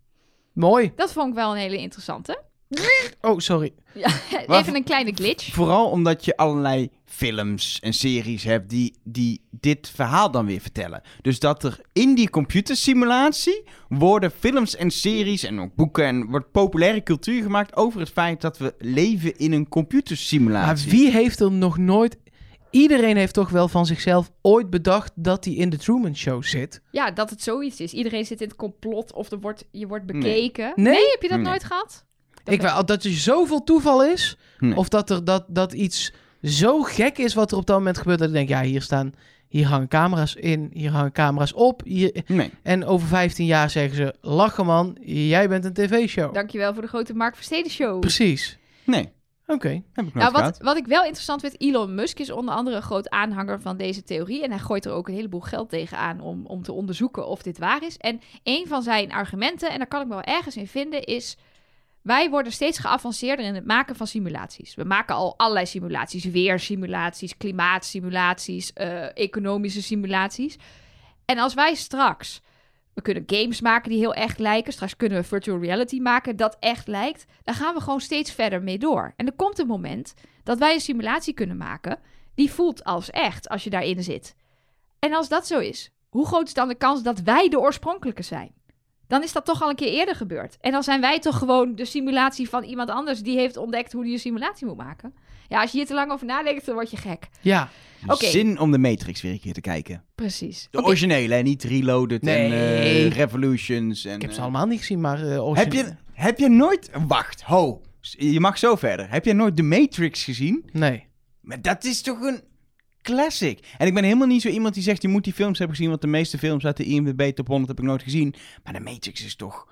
Mooi. Dat vond ik wel een hele interessante. Oh, sorry. Even een kleine glitch. Vooral omdat je allerlei films en series hebt die, die dit verhaal dan weer vertellen. Dus dat er in die computersimulatie worden films en series en ook boeken en wordt populaire cultuur gemaakt over het feit dat we leven in een Maar computersimulatie. wie heeft er nog nooit... Iedereen heeft toch wel van zichzelf ooit bedacht dat hij in de Truman Show zit? Ja, dat het zoiets is. Iedereen zit in het complot of er wordt, je wordt Nee. bekeken. Nee? heb je dat Nee. nooit gehad? Ik wel, dat er zoveel toeval is, Nee. of dat, er, dat, dat iets zo gek is wat er op dat moment gebeurt, dat ik denk, ja, hier staan, hier hangen camera's in, hier hangen camera's op. Hier, Nee. en over 15 jaar zeggen ze, lachen man, jij bent een tv-show. Dankjewel voor de grote Mark Versteden show. Precies. Nee. Oké. Heb ik nooit Nou, wat, gehad. wat ik wel interessant vind, Elon Musk is onder andere een groot aanhanger van deze theorie. En hij gooit er ook een heleboel geld tegenaan om, om te onderzoeken of dit waar is. En een van zijn argumenten, en daar kan ik me wel ergens in vinden, is... Wij worden steeds geavanceerder in het maken van simulaties. We maken al allerlei simulaties. Weersimulaties, klimaatsimulaties, eh, economische simulaties. En als wij straks... We kunnen games maken die heel echt lijken. Straks kunnen we virtual reality maken dat echt lijkt. Daar gaan we gewoon steeds verder mee door. En er komt een moment dat wij een simulatie kunnen maken die voelt als echt als je daarin zit. En als dat zo is, hoe groot is dan de kans dat wij de oorspronkelijke zijn? Dan is dat toch al een keer eerder gebeurd. En dan zijn wij toch gewoon de simulatie van iemand anders die heeft ontdekt hoe die een simulatie moet maken. Ja, als je hier te lang over nadenkt, dan word je gek. Ja. oké. Zin om de Matrix weer een keer te kijken. Precies. De Oké, originele, hè? niet Reloaded en Nee. eh, Revolutions. En, Ik heb ze eh, allemaal niet gezien, maar... eh, origine- Heb je, heb je nooit... Wacht, ho. Je mag zo verder. Heb je nooit de Matrix gezien? Nee. Maar dat is toch een classic. En ik ben helemaal niet zo iemand die zegt... je moet die films hebben gezien... want de meeste films uit de IMDb Top 100 heb ik nooit gezien. Maar de Matrix is toch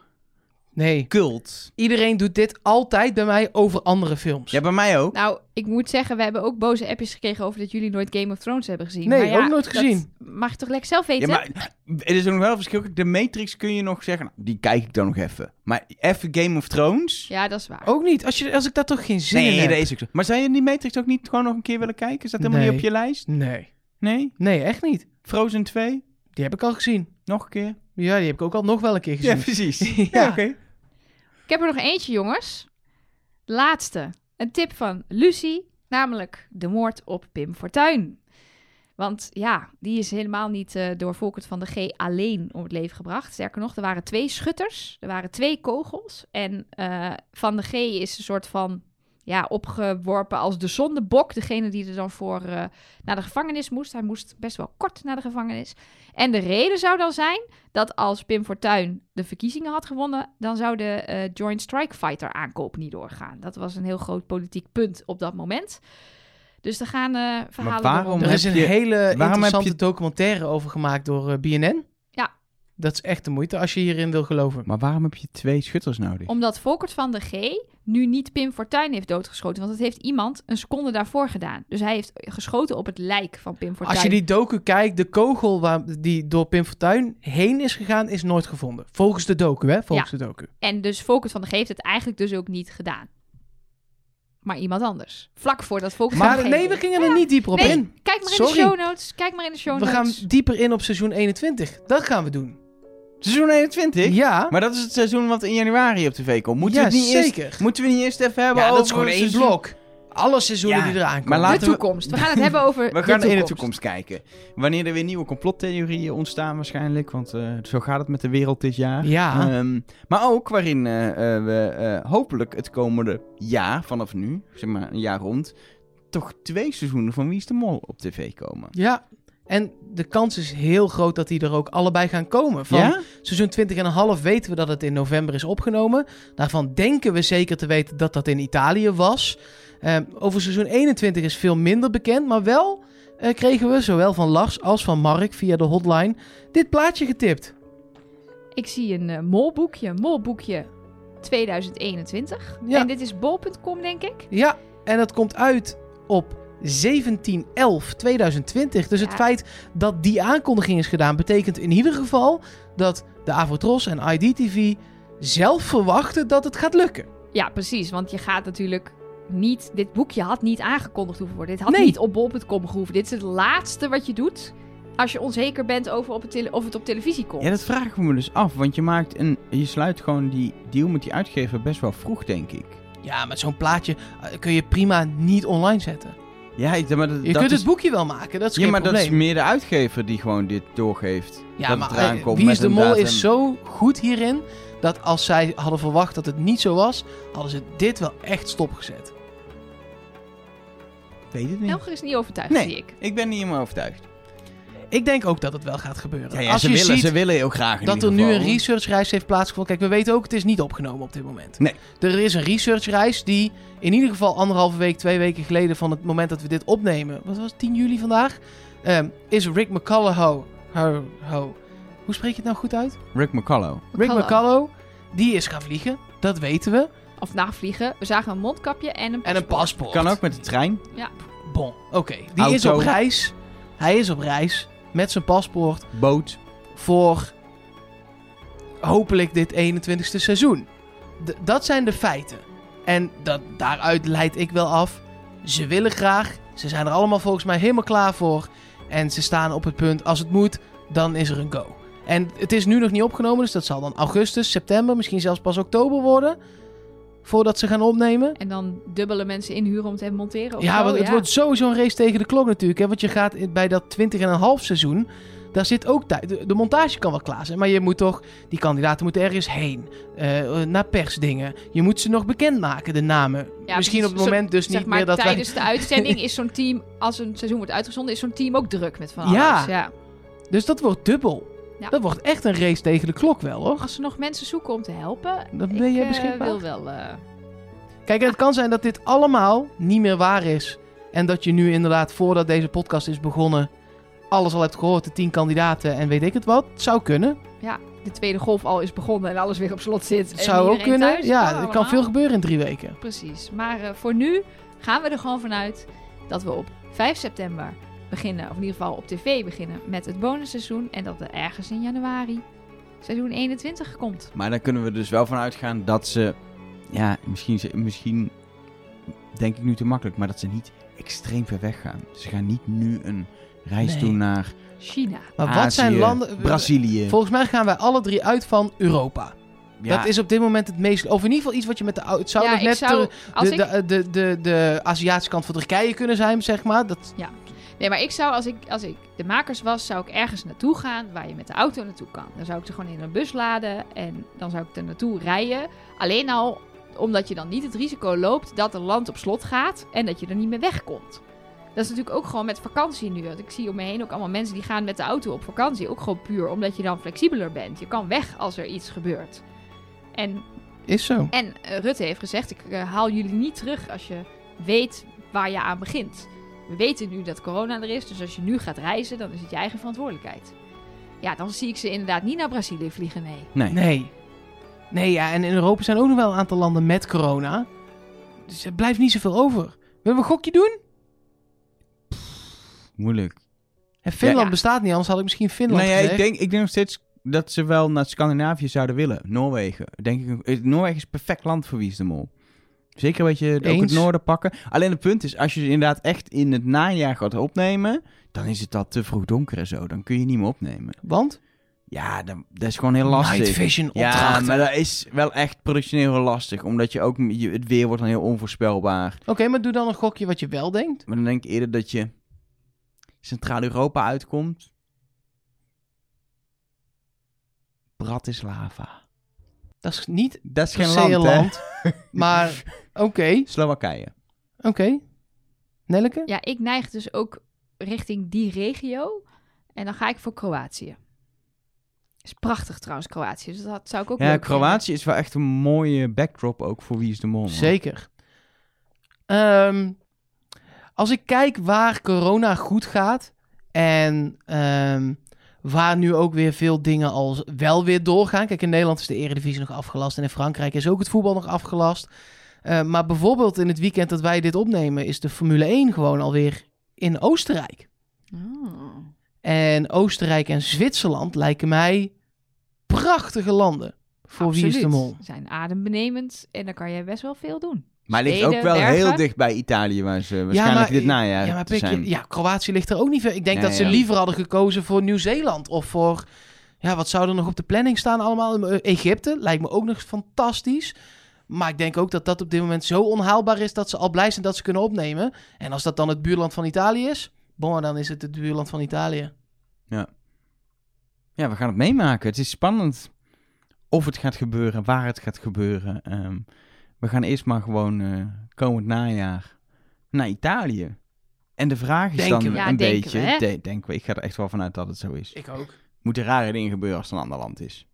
Nee. cult. Iedereen doet dit altijd bij mij over andere films. Ja, bij mij ook. Nou, ik moet zeggen, we hebben ook boze appjes gekregen over dat jullie nooit Game of Thrones hebben gezien. Nee, Maar ja, ook nooit dat gezien. Mag je toch lekker zelf weten? Ja, maar er is ook nog wel een verschil. Kijk, De Matrix kun je nog zeggen... Nou, die kijk ik dan nog even. Maar even Game of Thrones... Ja, dat is waar. Oh. Ook niet. Als, je, als ik daar toch geen zin in Nee, heb. dat is ook zo. Maar zou je die Matrix ook niet gewoon nog een keer willen kijken? Is dat helemaal Nee. niet op je lijst? Nee. Nee? Nee, echt niet. Frozen 2? Die heb ik al gezien. Nog een keer? Ja, die heb ik ook al nog wel een keer gezien. precies. Ja. Ik heb er nog eentje, jongens. Laatste. Een tip van Lucie, namelijk de moord op Pim Fortuyn. Want ja, die is helemaal niet eh, door Volkert van de G alleen om het leven gebracht. Sterker nog, er waren twee schutters, er waren twee kogels. En eh, van de G is een soort van ja, opgeworpen als de zondebok. Degene die er dan voor eh, naar de gevangenis moest. Hij moest best wel kort naar de gevangenis. En de reden zou dan zijn dat als Pim Fortuyn de verkiezingen had gewonnen, dan zou de eh, Joint Strike Fighter aankoop niet doorgaan. Dat was een heel groot politiek punt op dat moment. Dus er gaan eh, verhalen waarom rond. Er is een heb je- hele heb interessante je- documentaire over gemaakt door eh, BNN. Ja. Dat is echt de moeite als je hierin wil geloven. Maar waarom heb je twee schutters nodig? Omdat Volkert van de G nu niet Pim Fortuyn heeft doodgeschoten. Want dat heeft iemand een seconde daarvoor gedaan. Dus hij heeft geschoten op het lijk van Pim Fortuyn. Als je die docu kijkt, de kogel waar, die door Pim Fortuyn heen is gegaan, is nooit gevonden. Volgens de docu, hè? Volgens de docu. En dus Volkert van de G heeft het eigenlijk dus ook niet gedaan. Maar iemand anders. Vlak voordat Volkert van Maar de G... nee, we gingen er niet dieper op Nee, in. Kijk maar in Sorry. de show notes. Kijk maar in de show We notes. gaan dieper in op seizoen 21. Dat gaan we doen. Seizoen 21? Ja. Maar dat is het seizoen wat in januari op tv komt. Moeten Ja, we het niet zeker. Eerst, moeten we niet eerst even ja, hebben over dat is gewoon het één seizoen? blok. Alle seizoenen Ja, die eraan komen. maar laten de we- toekomst. We gaan het hebben over We gaan de in de toekomst kijken. Wanneer er weer nieuwe complottheorieën ontstaan waarschijnlijk. Want eh, zo gaat het met de wereld dit jaar. Ja. Ehm, maar ook waarin eh, eh, we eh, hopelijk het komende jaar, vanaf nu, zeg maar een jaar rond... toch twee seizoenen van Wie is de Mol op tv komen. Ja. En de kans is heel groot dat die er ook allebei gaan komen. Van ja? Seizoen 20 en een half weten we dat het in november is opgenomen. Daarvan denken we zeker te weten dat dat in Italië was. Ehm, over seizoen 21 is veel minder bekend, maar wel eh, kregen we zowel van Lars als van Mark via de hotline dit plaatje getipt. Ik zie een eh, molboekje. Molboekje 2021. Ja. En dit is bol.com, denk ik. Ja, en dat komt uit op 17-11-2020. Dus het Ja. feit dat die aankondiging is gedaan, betekent in ieder geval dat de Avotros en IDTV zelf verwachten dat het gaat lukken. Ja, precies. Want je gaat natuurlijk niet. Dit boekje had niet aangekondigd hoeven worden. Dit had Nee. niet op bol.com gehoeven. Dit is het laatste wat je doet. als je onzeker bent over op het tele- of het op televisie komt. Ja, dat vraag ik me dus af. Want je maakt een. Je sluit gewoon die deal met die uitgever best wel vroeg, denk ik. Ja, met zo'n plaatje eh, kun je prima niet online zetten. Ja, ik- maar dat, Je dat kunt is, het boekje wel maken, dat is Ja, geen maar dat is probleem. meer de uitgever die gewoon dit doorgeeft. ja, dat maar het eraan eh, komt Wie met is de een Mol datum. is zo goed hierin, dat als zij hadden verwacht dat het niet zo was, hadden ze dit wel echt stopgezet. Weet het niet. Elger is niet overtuigd, Nee. zie ik. Ik ben niet helemaal overtuigd. Ik denk ook dat het wel gaat gebeuren. Ja, ja, als ze, je willen, ziet ze willen heel graag in dat ieder er nu geval. een researchreis heeft plaatsgevonden. Kijk, we weten ook, het is niet opgenomen op dit moment. Nee. Er is een researchreis die in ieder geval anderhalve week, twee weken geleden van het moment dat we dit opnemen, wat was het, 10 juli vandaag, Ehm, is Rick McCullough, ho, ho, hoe spreek je het nou goed uit? Rick McCallow. Rick Hallo. McCullough, die is gaan vliegen, dat weten we, Of navliegen. We zagen een mondkapje en een en een paspoort. paspoort. Kan ook met de trein. Bon, oké. Die Auto. is op reis, hij is op reis met zijn paspoort Boot. voor hopelijk dit 21ste seizoen. D- dat zijn de feiten. En dat, daaruit leid ik wel af. Ze willen graag. Ze zijn er allemaal volgens mij helemaal klaar voor. En ze staan op het punt, als het moet, dan is er een go. En het is nu nog niet opgenomen, dus dat zal dan augustus, september, misschien zelfs pas oktober worden. Voordat ze gaan opnemen. En dan dubbele mensen inhuren om te monteren. Of Ja, zo, want het wordt sowieso een race tegen de klok natuurlijk. Hè? Want je gaat in- bij dat 20,5 seizoen. Daar zit ook tijd. De, de montage kan wel klaar zijn. Maar je moet toch. Die kandidaten moeten ergens heen. eh, naar persdingen. Je moet ze nog bekendmaken, de namen. Ja, Misschien op precies. het moment dus Zeg niet maar, meer dat wij- tijdens de uitzending is zo'n team, als een seizoen wordt uitgezonden, is zo'n team ook druk met van alles. Ja. Ja. Dus dat wordt dubbel. Ja. Dat wordt echt een race tegen de klok wel hoor. Als ze nog mensen zoeken om te helpen, Dan ik, ben jij eh, Ah. beschikbaar. wil wel. eh, Kijk, en het kan zijn dat dit allemaal niet meer waar is. En dat je nu inderdaad, voordat deze podcast is begonnen, alles al hebt gehoord, de tien kandidaten en weet ik het wat. Zou kunnen. de tweede golf al is begonnen en alles weer op slot zit. Het en zou ook iedereen kunnen. thuis, ja, er kan allemaal. veel gebeuren in drie weken. Precies. Maar eh, voor nu gaan we er gewoon vanuit dat we op 5 september beginnen, of in ieder geval op tv beginnen met het bonusseizoen. En dat er ergens in januari seizoen 21 komt. Maar dan kunnen we dus wel van uitgaan dat ze. Ja, misschien, ze- misschien denk ik nu te makkelijk, maar dat ze niet extreem ver weg gaan. Ze gaan niet nu een reis Nee. doen naar China. Maar wat Azië, zijn landen. Brazilië. Volgens mij gaan wij alle drie uit van Europa. Ja, Dat is op dit moment het meest. Of in ieder geval iets wat je met de. ou- Het zou ja, nog ik net zou, ter- als de, ik, de, de, de, de Aziatische kant van Turkije kunnen zijn, zeg maar. Dat, nee, maar ik zou, als ik, als ik de makers was, zou ik ergens naartoe gaan waar je met de auto naartoe kan. Dan zou ik er gewoon in een bus laden en dan zou ik er naartoe rijden. Alleen al omdat je dan niet het risico loopt dat een land op slot gaat en dat je er niet meer wegkomt. Dat is natuurlijk ook gewoon met vakantie nu. Want ik zie om me heen ook allemaal mensen die gaan met de auto op vakantie. Ook gewoon puur omdat je dan flexibeler bent. Je kan weg als er iets gebeurt. En, is zo. en eh, Rutte heeft gezegd, ik eh, haal jullie niet terug als je weet waar je aan begint. We weten nu dat corona er is, dus als je nu gaat reizen, dan is het je eigen verantwoordelijkheid. Ja, dan zie ik ze inderdaad niet naar Brazilië vliegen, nee. nee. Nee. Nee, ja, en in Europa zijn ook nog wel een aantal landen met corona. Dus er blijft niet zoveel over. Willen we een gokje doen? moeilijk. En Finland Ja. bestaat niet, anders had ik misschien Finland Nou ja, ik gezegd. denk, ik denk nog steeds dat ze wel naar Scandinavië zouden willen. Noorwegen. Denk ik, eh, Noorwegen is een perfect land voor Wie is de Mol. Zeker weet je ook het Eens. noorden pakken. Alleen het punt is, als je ze inderdaad echt in het najaar gaat opnemen, dan is het al te vroeg donker en zo. Dan kun je niet meer opnemen. Want? Ja, dan, dat is gewoon heel lastig. Night vision ja, opdrachten. maar dat is wel echt productioneel heel lastig. Omdat je ook, je- het weer wordt dan heel onvoorspelbaar. Oké, maar doe dan een gokje wat je wel denkt. Maar dan denk ik eerder dat je Centraal-Europa uitkomt. Bratislava. Dat is niet Dat is per geen se een land, land. hè? Maar oké, Slowakije. oké. Nelleke? Ja, ik neig dus ook richting die regio. En dan ga ik voor Kroatië. Is prachtig trouwens, Kroatië. Dus dat zou ik ook Ja, leuk Kroatië is wel echt een mooie backdrop ook voor Wie is de Mol. man. Zeker. Ehm, als ik kijk waar corona goed gaat en ehm, waar nu ook weer veel dingen al wel weer doorgaan. Kijk, in Nederland is de Eredivisie nog afgelast en in Frankrijk is ook het voetbal nog afgelast. Eh, maar bijvoorbeeld in het weekend dat wij dit opnemen is de Formule 1 gewoon alweer in Oostenrijk. vinden. Oh. En Oostenrijk en Zwitserland lijken mij prachtige landen voor Wie is de Absoluut. Mol. Zijn adembenemend en daar kan je best wel veel doen. Maar het ligt Zweden, ook wel Bergen. heel dicht bij Italië, waar ze waarschijnlijk maar- dit najaar Ja, maar te pik, zijn. ja, Kroatië ligt er ook niet ver. Ik denk Nee, dat ze ja. liever hadden gekozen voor Nieuw-Zeeland of voor... Ja, wat zou er nog op de planning staan allemaal? Eh, Egypte lijkt me ook nog fantastisch. Maar ik denk ook dat dat op dit moment zo onhaalbaar is... dat ze al blij zijn dat ze kunnen opnemen. En als dat dan het buurland van Italië is... Bon, dan is het het buurland van Italië. Ja, we gaan het meemaken. Het is spannend of het gaat gebeuren, waar het gaat gebeuren. Ehm, we gaan eerst maar gewoon eh, komend najaar naar Italië. En de vraag is Denken dan we. Ja, een denken beetje... we, hè? de- denken we. Ik ga er echt wel vanuit dat het zo is. Ik ook. Moeten rare dingen gebeuren als het een ander land is.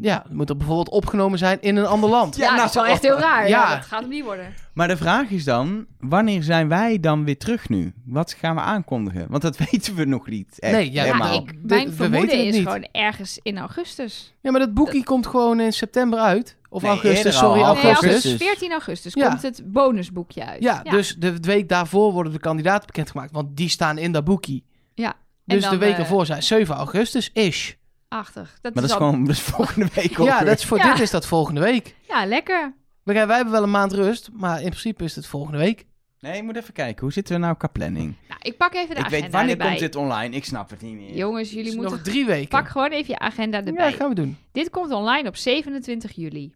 Ja, het moet er bijvoorbeeld opgenomen zijn in een ander land. Ja, nou, dat is wel echt heel raar. Ja. Ja. dat gaat hem niet worden. Maar de vraag is dan, wanneer zijn wij dan weer terug nu? Wat gaan we aankondigen? Want dat weten we nog niet. echt Nee, ja, Ja, helemaal. ik, We- mijn we weten vermoeden het is niet. gewoon ergens in augustus. Ja, maar dat boekie komt gewoon in september uit. Of Nee, eerder augustus, al. sorry, Nee, Nee, augustus. augustus. 14 augustus Ja. komt het bonusboekje uit. Ja, dus de week daarvoor worden de kandidaten bekendgemaakt, want die staan in dat boekie. Ja, en Dus dan, de week eh, ervoor zijn 7 augustus ish. Achtig. Dat Maar is dat is al- gewoon dat is volgende week Ja, alweer. dat is voor Ja. dit is dat volgende week. Ja, lekker. We gaan- wij hebben wel een maand rust, maar in principe is het volgende week. Nee, je moet even kijken. Hoe zitten we nou qua planning? Nou, ik pak even de ik agenda weet, wanneer erbij. komt dit online? Ik snap het niet meer. Jongens, jullie Is moeten... Dus nog drie weken. Pak gewoon even je agenda erbij. Ja, gaan we doen. Dit komt online op 27 juli.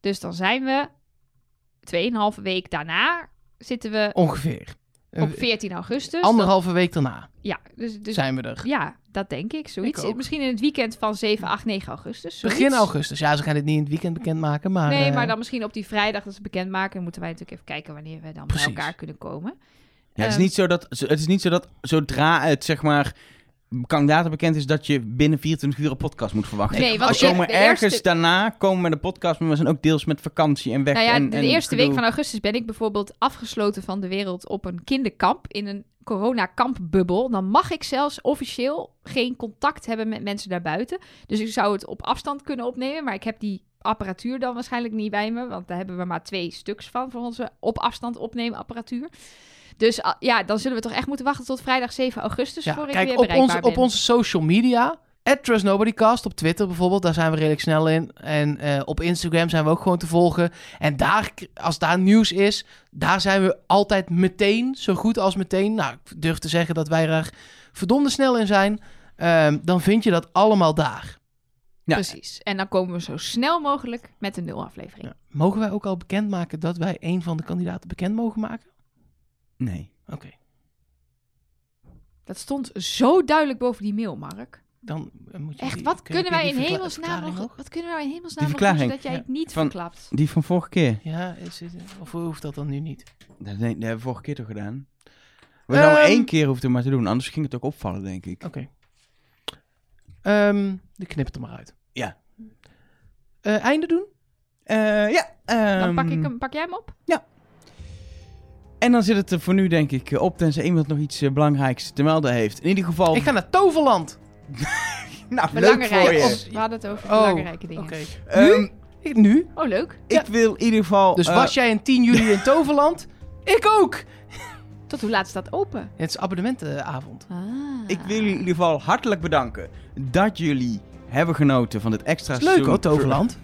Dus dan zijn we... 2,5 week daarna zitten we Ongeveer. Eh, op 14 augustus. Anderhalve week daarna Dan- ja, dus, dus zijn we er. ja, dat denk ik. Zoiets. Ik ook. Misschien in het weekend van 7, 8, 9 augustus. zoiets. Begin augustus. Ja, ze gaan dit niet in het weekend bekendmaken, maar... nee, eh, maar dan misschien op die vrijdag dat ze bekendmaken. Moeten wij natuurlijk even kijken wanneer we dan Precies. bij elkaar kunnen komen. Ja, het, is Ehm. niet zo dat, zo- het is niet zo dat zodra het zeg maar kandidaten bekend is dat je binnen 24 uur een podcast moet verwachten. Nee, want we de- komen de ergens eerste- daarna komen met een podcast, maar we zijn ook deels met vakantie en weg. Nou ja, en, de en eerste gedoe. week van augustus ben ik bijvoorbeeld afgesloten van de wereld op een kinderkamp in een coronakampbubbel. Dan mag ik zelfs officieel geen contact hebben met mensen daarbuiten. Dus ik zou het op afstand kunnen opnemen, maar ik heb die apparatuur dan waarschijnlijk niet bij me, want daar hebben we maar twee stuks van voor onze op afstand opnemen apparatuur. Dus ah, ja, dan zullen we toch echt moeten wachten tot vrijdag 7 augustus Ja, Dus voor ik weer kijk, op, bereikbaar ons, ben. op onze social media. At TrustNobodyCast op Twitter bijvoorbeeld, daar zijn we redelijk snel in. En eh, op Instagram zijn we ook gewoon te volgen. En daar, als daar nieuws is, daar zijn we altijd meteen, zo goed als meteen. Nou, ik durf te zeggen dat wij daar verdomde snel in zijn. Ehm, dan vind je dat allemaal daar. Ja. Precies. En dan komen we zo snel mogelijk met een nul aflevering. Ja. Mogen wij ook al bekendmaken dat wij een van de kandidaten bekend mogen maken? Nee. Oké, Dat stond zo duidelijk boven die mail, Mark. dan eh, moet je... Echt, die- wat kun je- kunnen kun wij je in die verkla- hemelsnaam verklaring nog... nog? Wat kunnen wij in hemelsnaam nog doen verklaring, zodat jij ja. het niet Van- verklapt? Die van vorige keer. Ja, is het, of hoeft dat dan nu niet? Dat, nee, dat hebben we vorige keer toch gedaan? We hebben nou Ehm. één keer hoefden maar te doen, anders ging het ook opvallen, denk ik. Oh. Oké. Ehm, de knip het er maar uit. Ja. Eh, einde doen? Eh, ja. Dan pak, ehm, ik hem, pak jij hem op? En dan zit het er voor nu, denk ik, op, tenzij iemand nog iets eh, belangrijks te melden heeft. In ieder geval, Ik ga naar Toverland. nou, leuk Belangrijk. voor je. Of- We hadden het over Oh, belangrijke dingen. Oké. Ehm, Ik Nu? Oh, leuk. Ik wil in ieder geval... Dus eh, was jij een 10 juli in Toverland? ik ook! Tot hoe laat staat open? Het is abonnementenavond. Ah. Ik wil jullie in ieder geval hartelijk bedanken dat jullie hebben genoten van dit extra Is leuk seizoen. hoor, Toverland.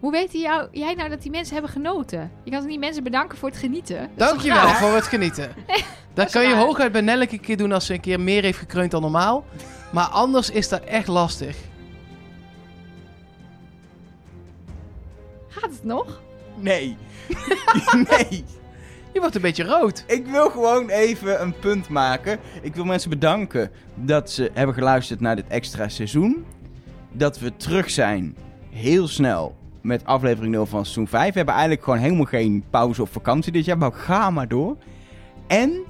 Hoe weet jou, jij nou dat die mensen hebben genoten? Je kan toch niet mensen bedanken voor het genieten? Dat is toch Dankjewel raar? voor het genieten. Dat is kan je raar. hooguit bij Nelleke een keer doen als ze een keer meer heeft gekreund dan normaal. Maar anders is dat echt lastig. Gaat het Nou, nog? Nee. nee. Je wordt een beetje rood. Ik wil gewoon even een punt maken. Ik wil mensen bedanken dat ze hebben geluisterd naar dit extra seizoen. Dat we terug zijn heel snel met aflevering 0 van seizoen 5. We hebben eigenlijk gewoon helemaal geen pauze of vakantie dit jaar, maar ga maar door. En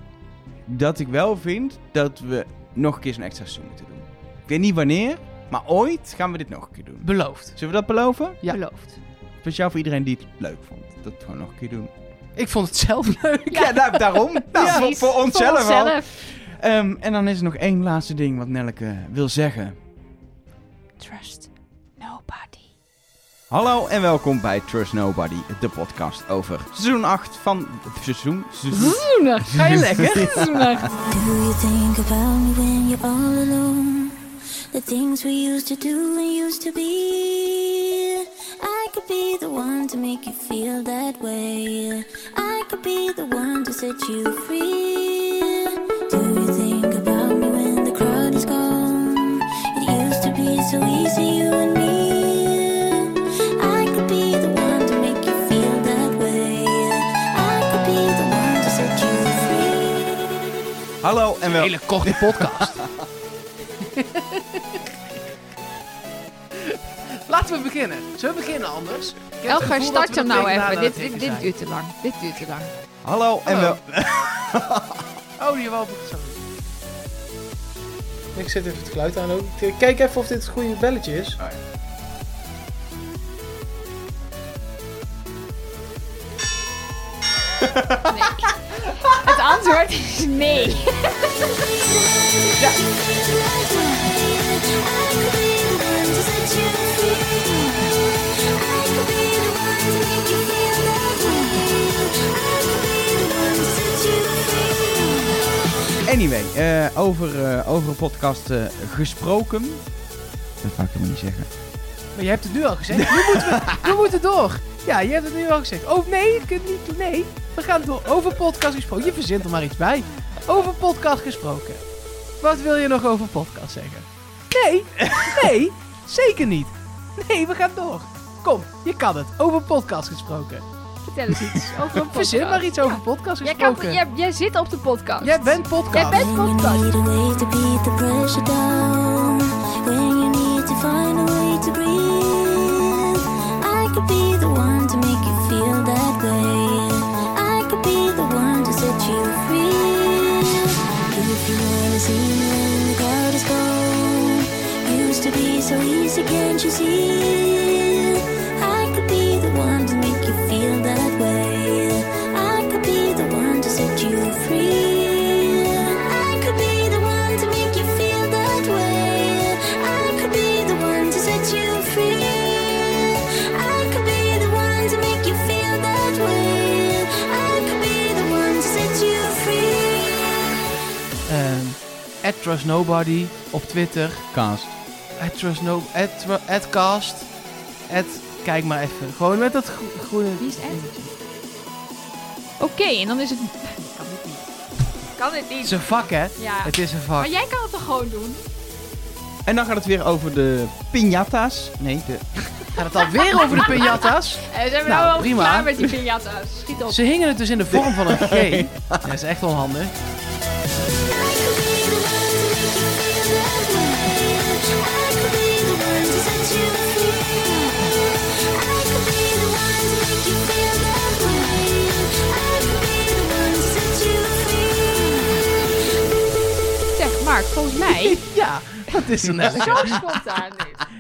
dat ik wel vind dat we nog een keer zo'n extra seizoen moeten doen. Ik weet niet wanneer, maar ooit gaan we dit nog een keer doen. Beloofd. Zullen we dat beloven? Ja. Beloofd. Speciaal voor iedereen die het leuk vond. Dat gewoon nog een keer doen. Ik vond het zelf leuk. Ja, nou, daarom. Nou, voor, Precies. voor onszelf, Voor al. onszelf. Ehm, en dan is er nog één laatste ding wat Nelke wil zeggen. Trust nobody. Hallo en welkom bij Trust Nobody, de podcast over seizoen 8 van... Seizoen? seizoen Zoenig. Ga je lekker? Zoenig. Do you think about me when you're all alone? The things we used to do and used to be. I could be the one to make you feel that way. I could be the one to set you free. Do you think about me when the crowd is gone? It used to be so easy, you and me. I could be the one to make you feel that way. I could be the one to set you free. Hallo en wel. Hele korte podcast. Laten we beginnen. Zullen we beginnen anders? Ik heb het gevoel Elgar, dat we start hem nog nou twee even. dagen Dit, aan dit, het tikken dit duurt te lang. Dit duurt te lang. Hallo en wel. Hallo. zijn. Oh, die wel. Sorry. Ik zet even het geluid aan ook. Ik Kijk even of dit het goede belletje is. ja. Het antwoord is nee. Anyway, eh, over, eh, over een podcast eh, gesproken. Dat ga ik helemaal niet zeggen. Maar je hebt het nu al gezegd. Nu moeten we, we moeten door. Ja, je hebt het nu al gezegd. Oh nee, ik kunt niet doen. Nee, we gaan door. Over podcast gesproken. Je verzint er maar iets bij. Over podcast gesproken. Wat wil je nog over podcast zeggen? Nee, nee, zeker niet. Nee, we gaan door. Kom, je kan het. Over podcast gesproken. Vertel eens iets over een podcast. Verzin maar iets over podcast Jij, kan, gesproken. jij, jij zit op de podcast. Jij bent podcast. Jij bent podcast. Need a way to beat the pressure down. When you need to find a way to breathe, I could be the one to make you feel that way. I could be the one to set you free. If you wanna see me when the crowd is gone, used to be so easy, can't you see? I could be the one to make you feel that way. I could be the one to set you free. I could be the one to make you feel that way. I could be the one to set you free. I could be the one to make you feel that way. I could be the one to set you free. Ehm, at Trust Nobody op Twitter. Cast. At Trust No... At, Tru- at Cast. At... Kijk maar even. Gewoon met dat gro- groene... Wie is het? Oké, en dan is het... Kan dit niet. Kan dit Het is niet. een vak, hè? Ja. Het is een vak. Maar jij kan het toch gewoon doen? En dan gaat het weer over de piñatas. Nee, de... Gaat het alweer over de piñatas? Eh, zijn we nou, Nou, wel prima. klaar met die piñata's? Schiet op. Ze hingen het dus in de vorm van een G. Dat is echt onhandig. Zeg, Mark, volgens mij... Ja, dat is een Zo spontaan dit.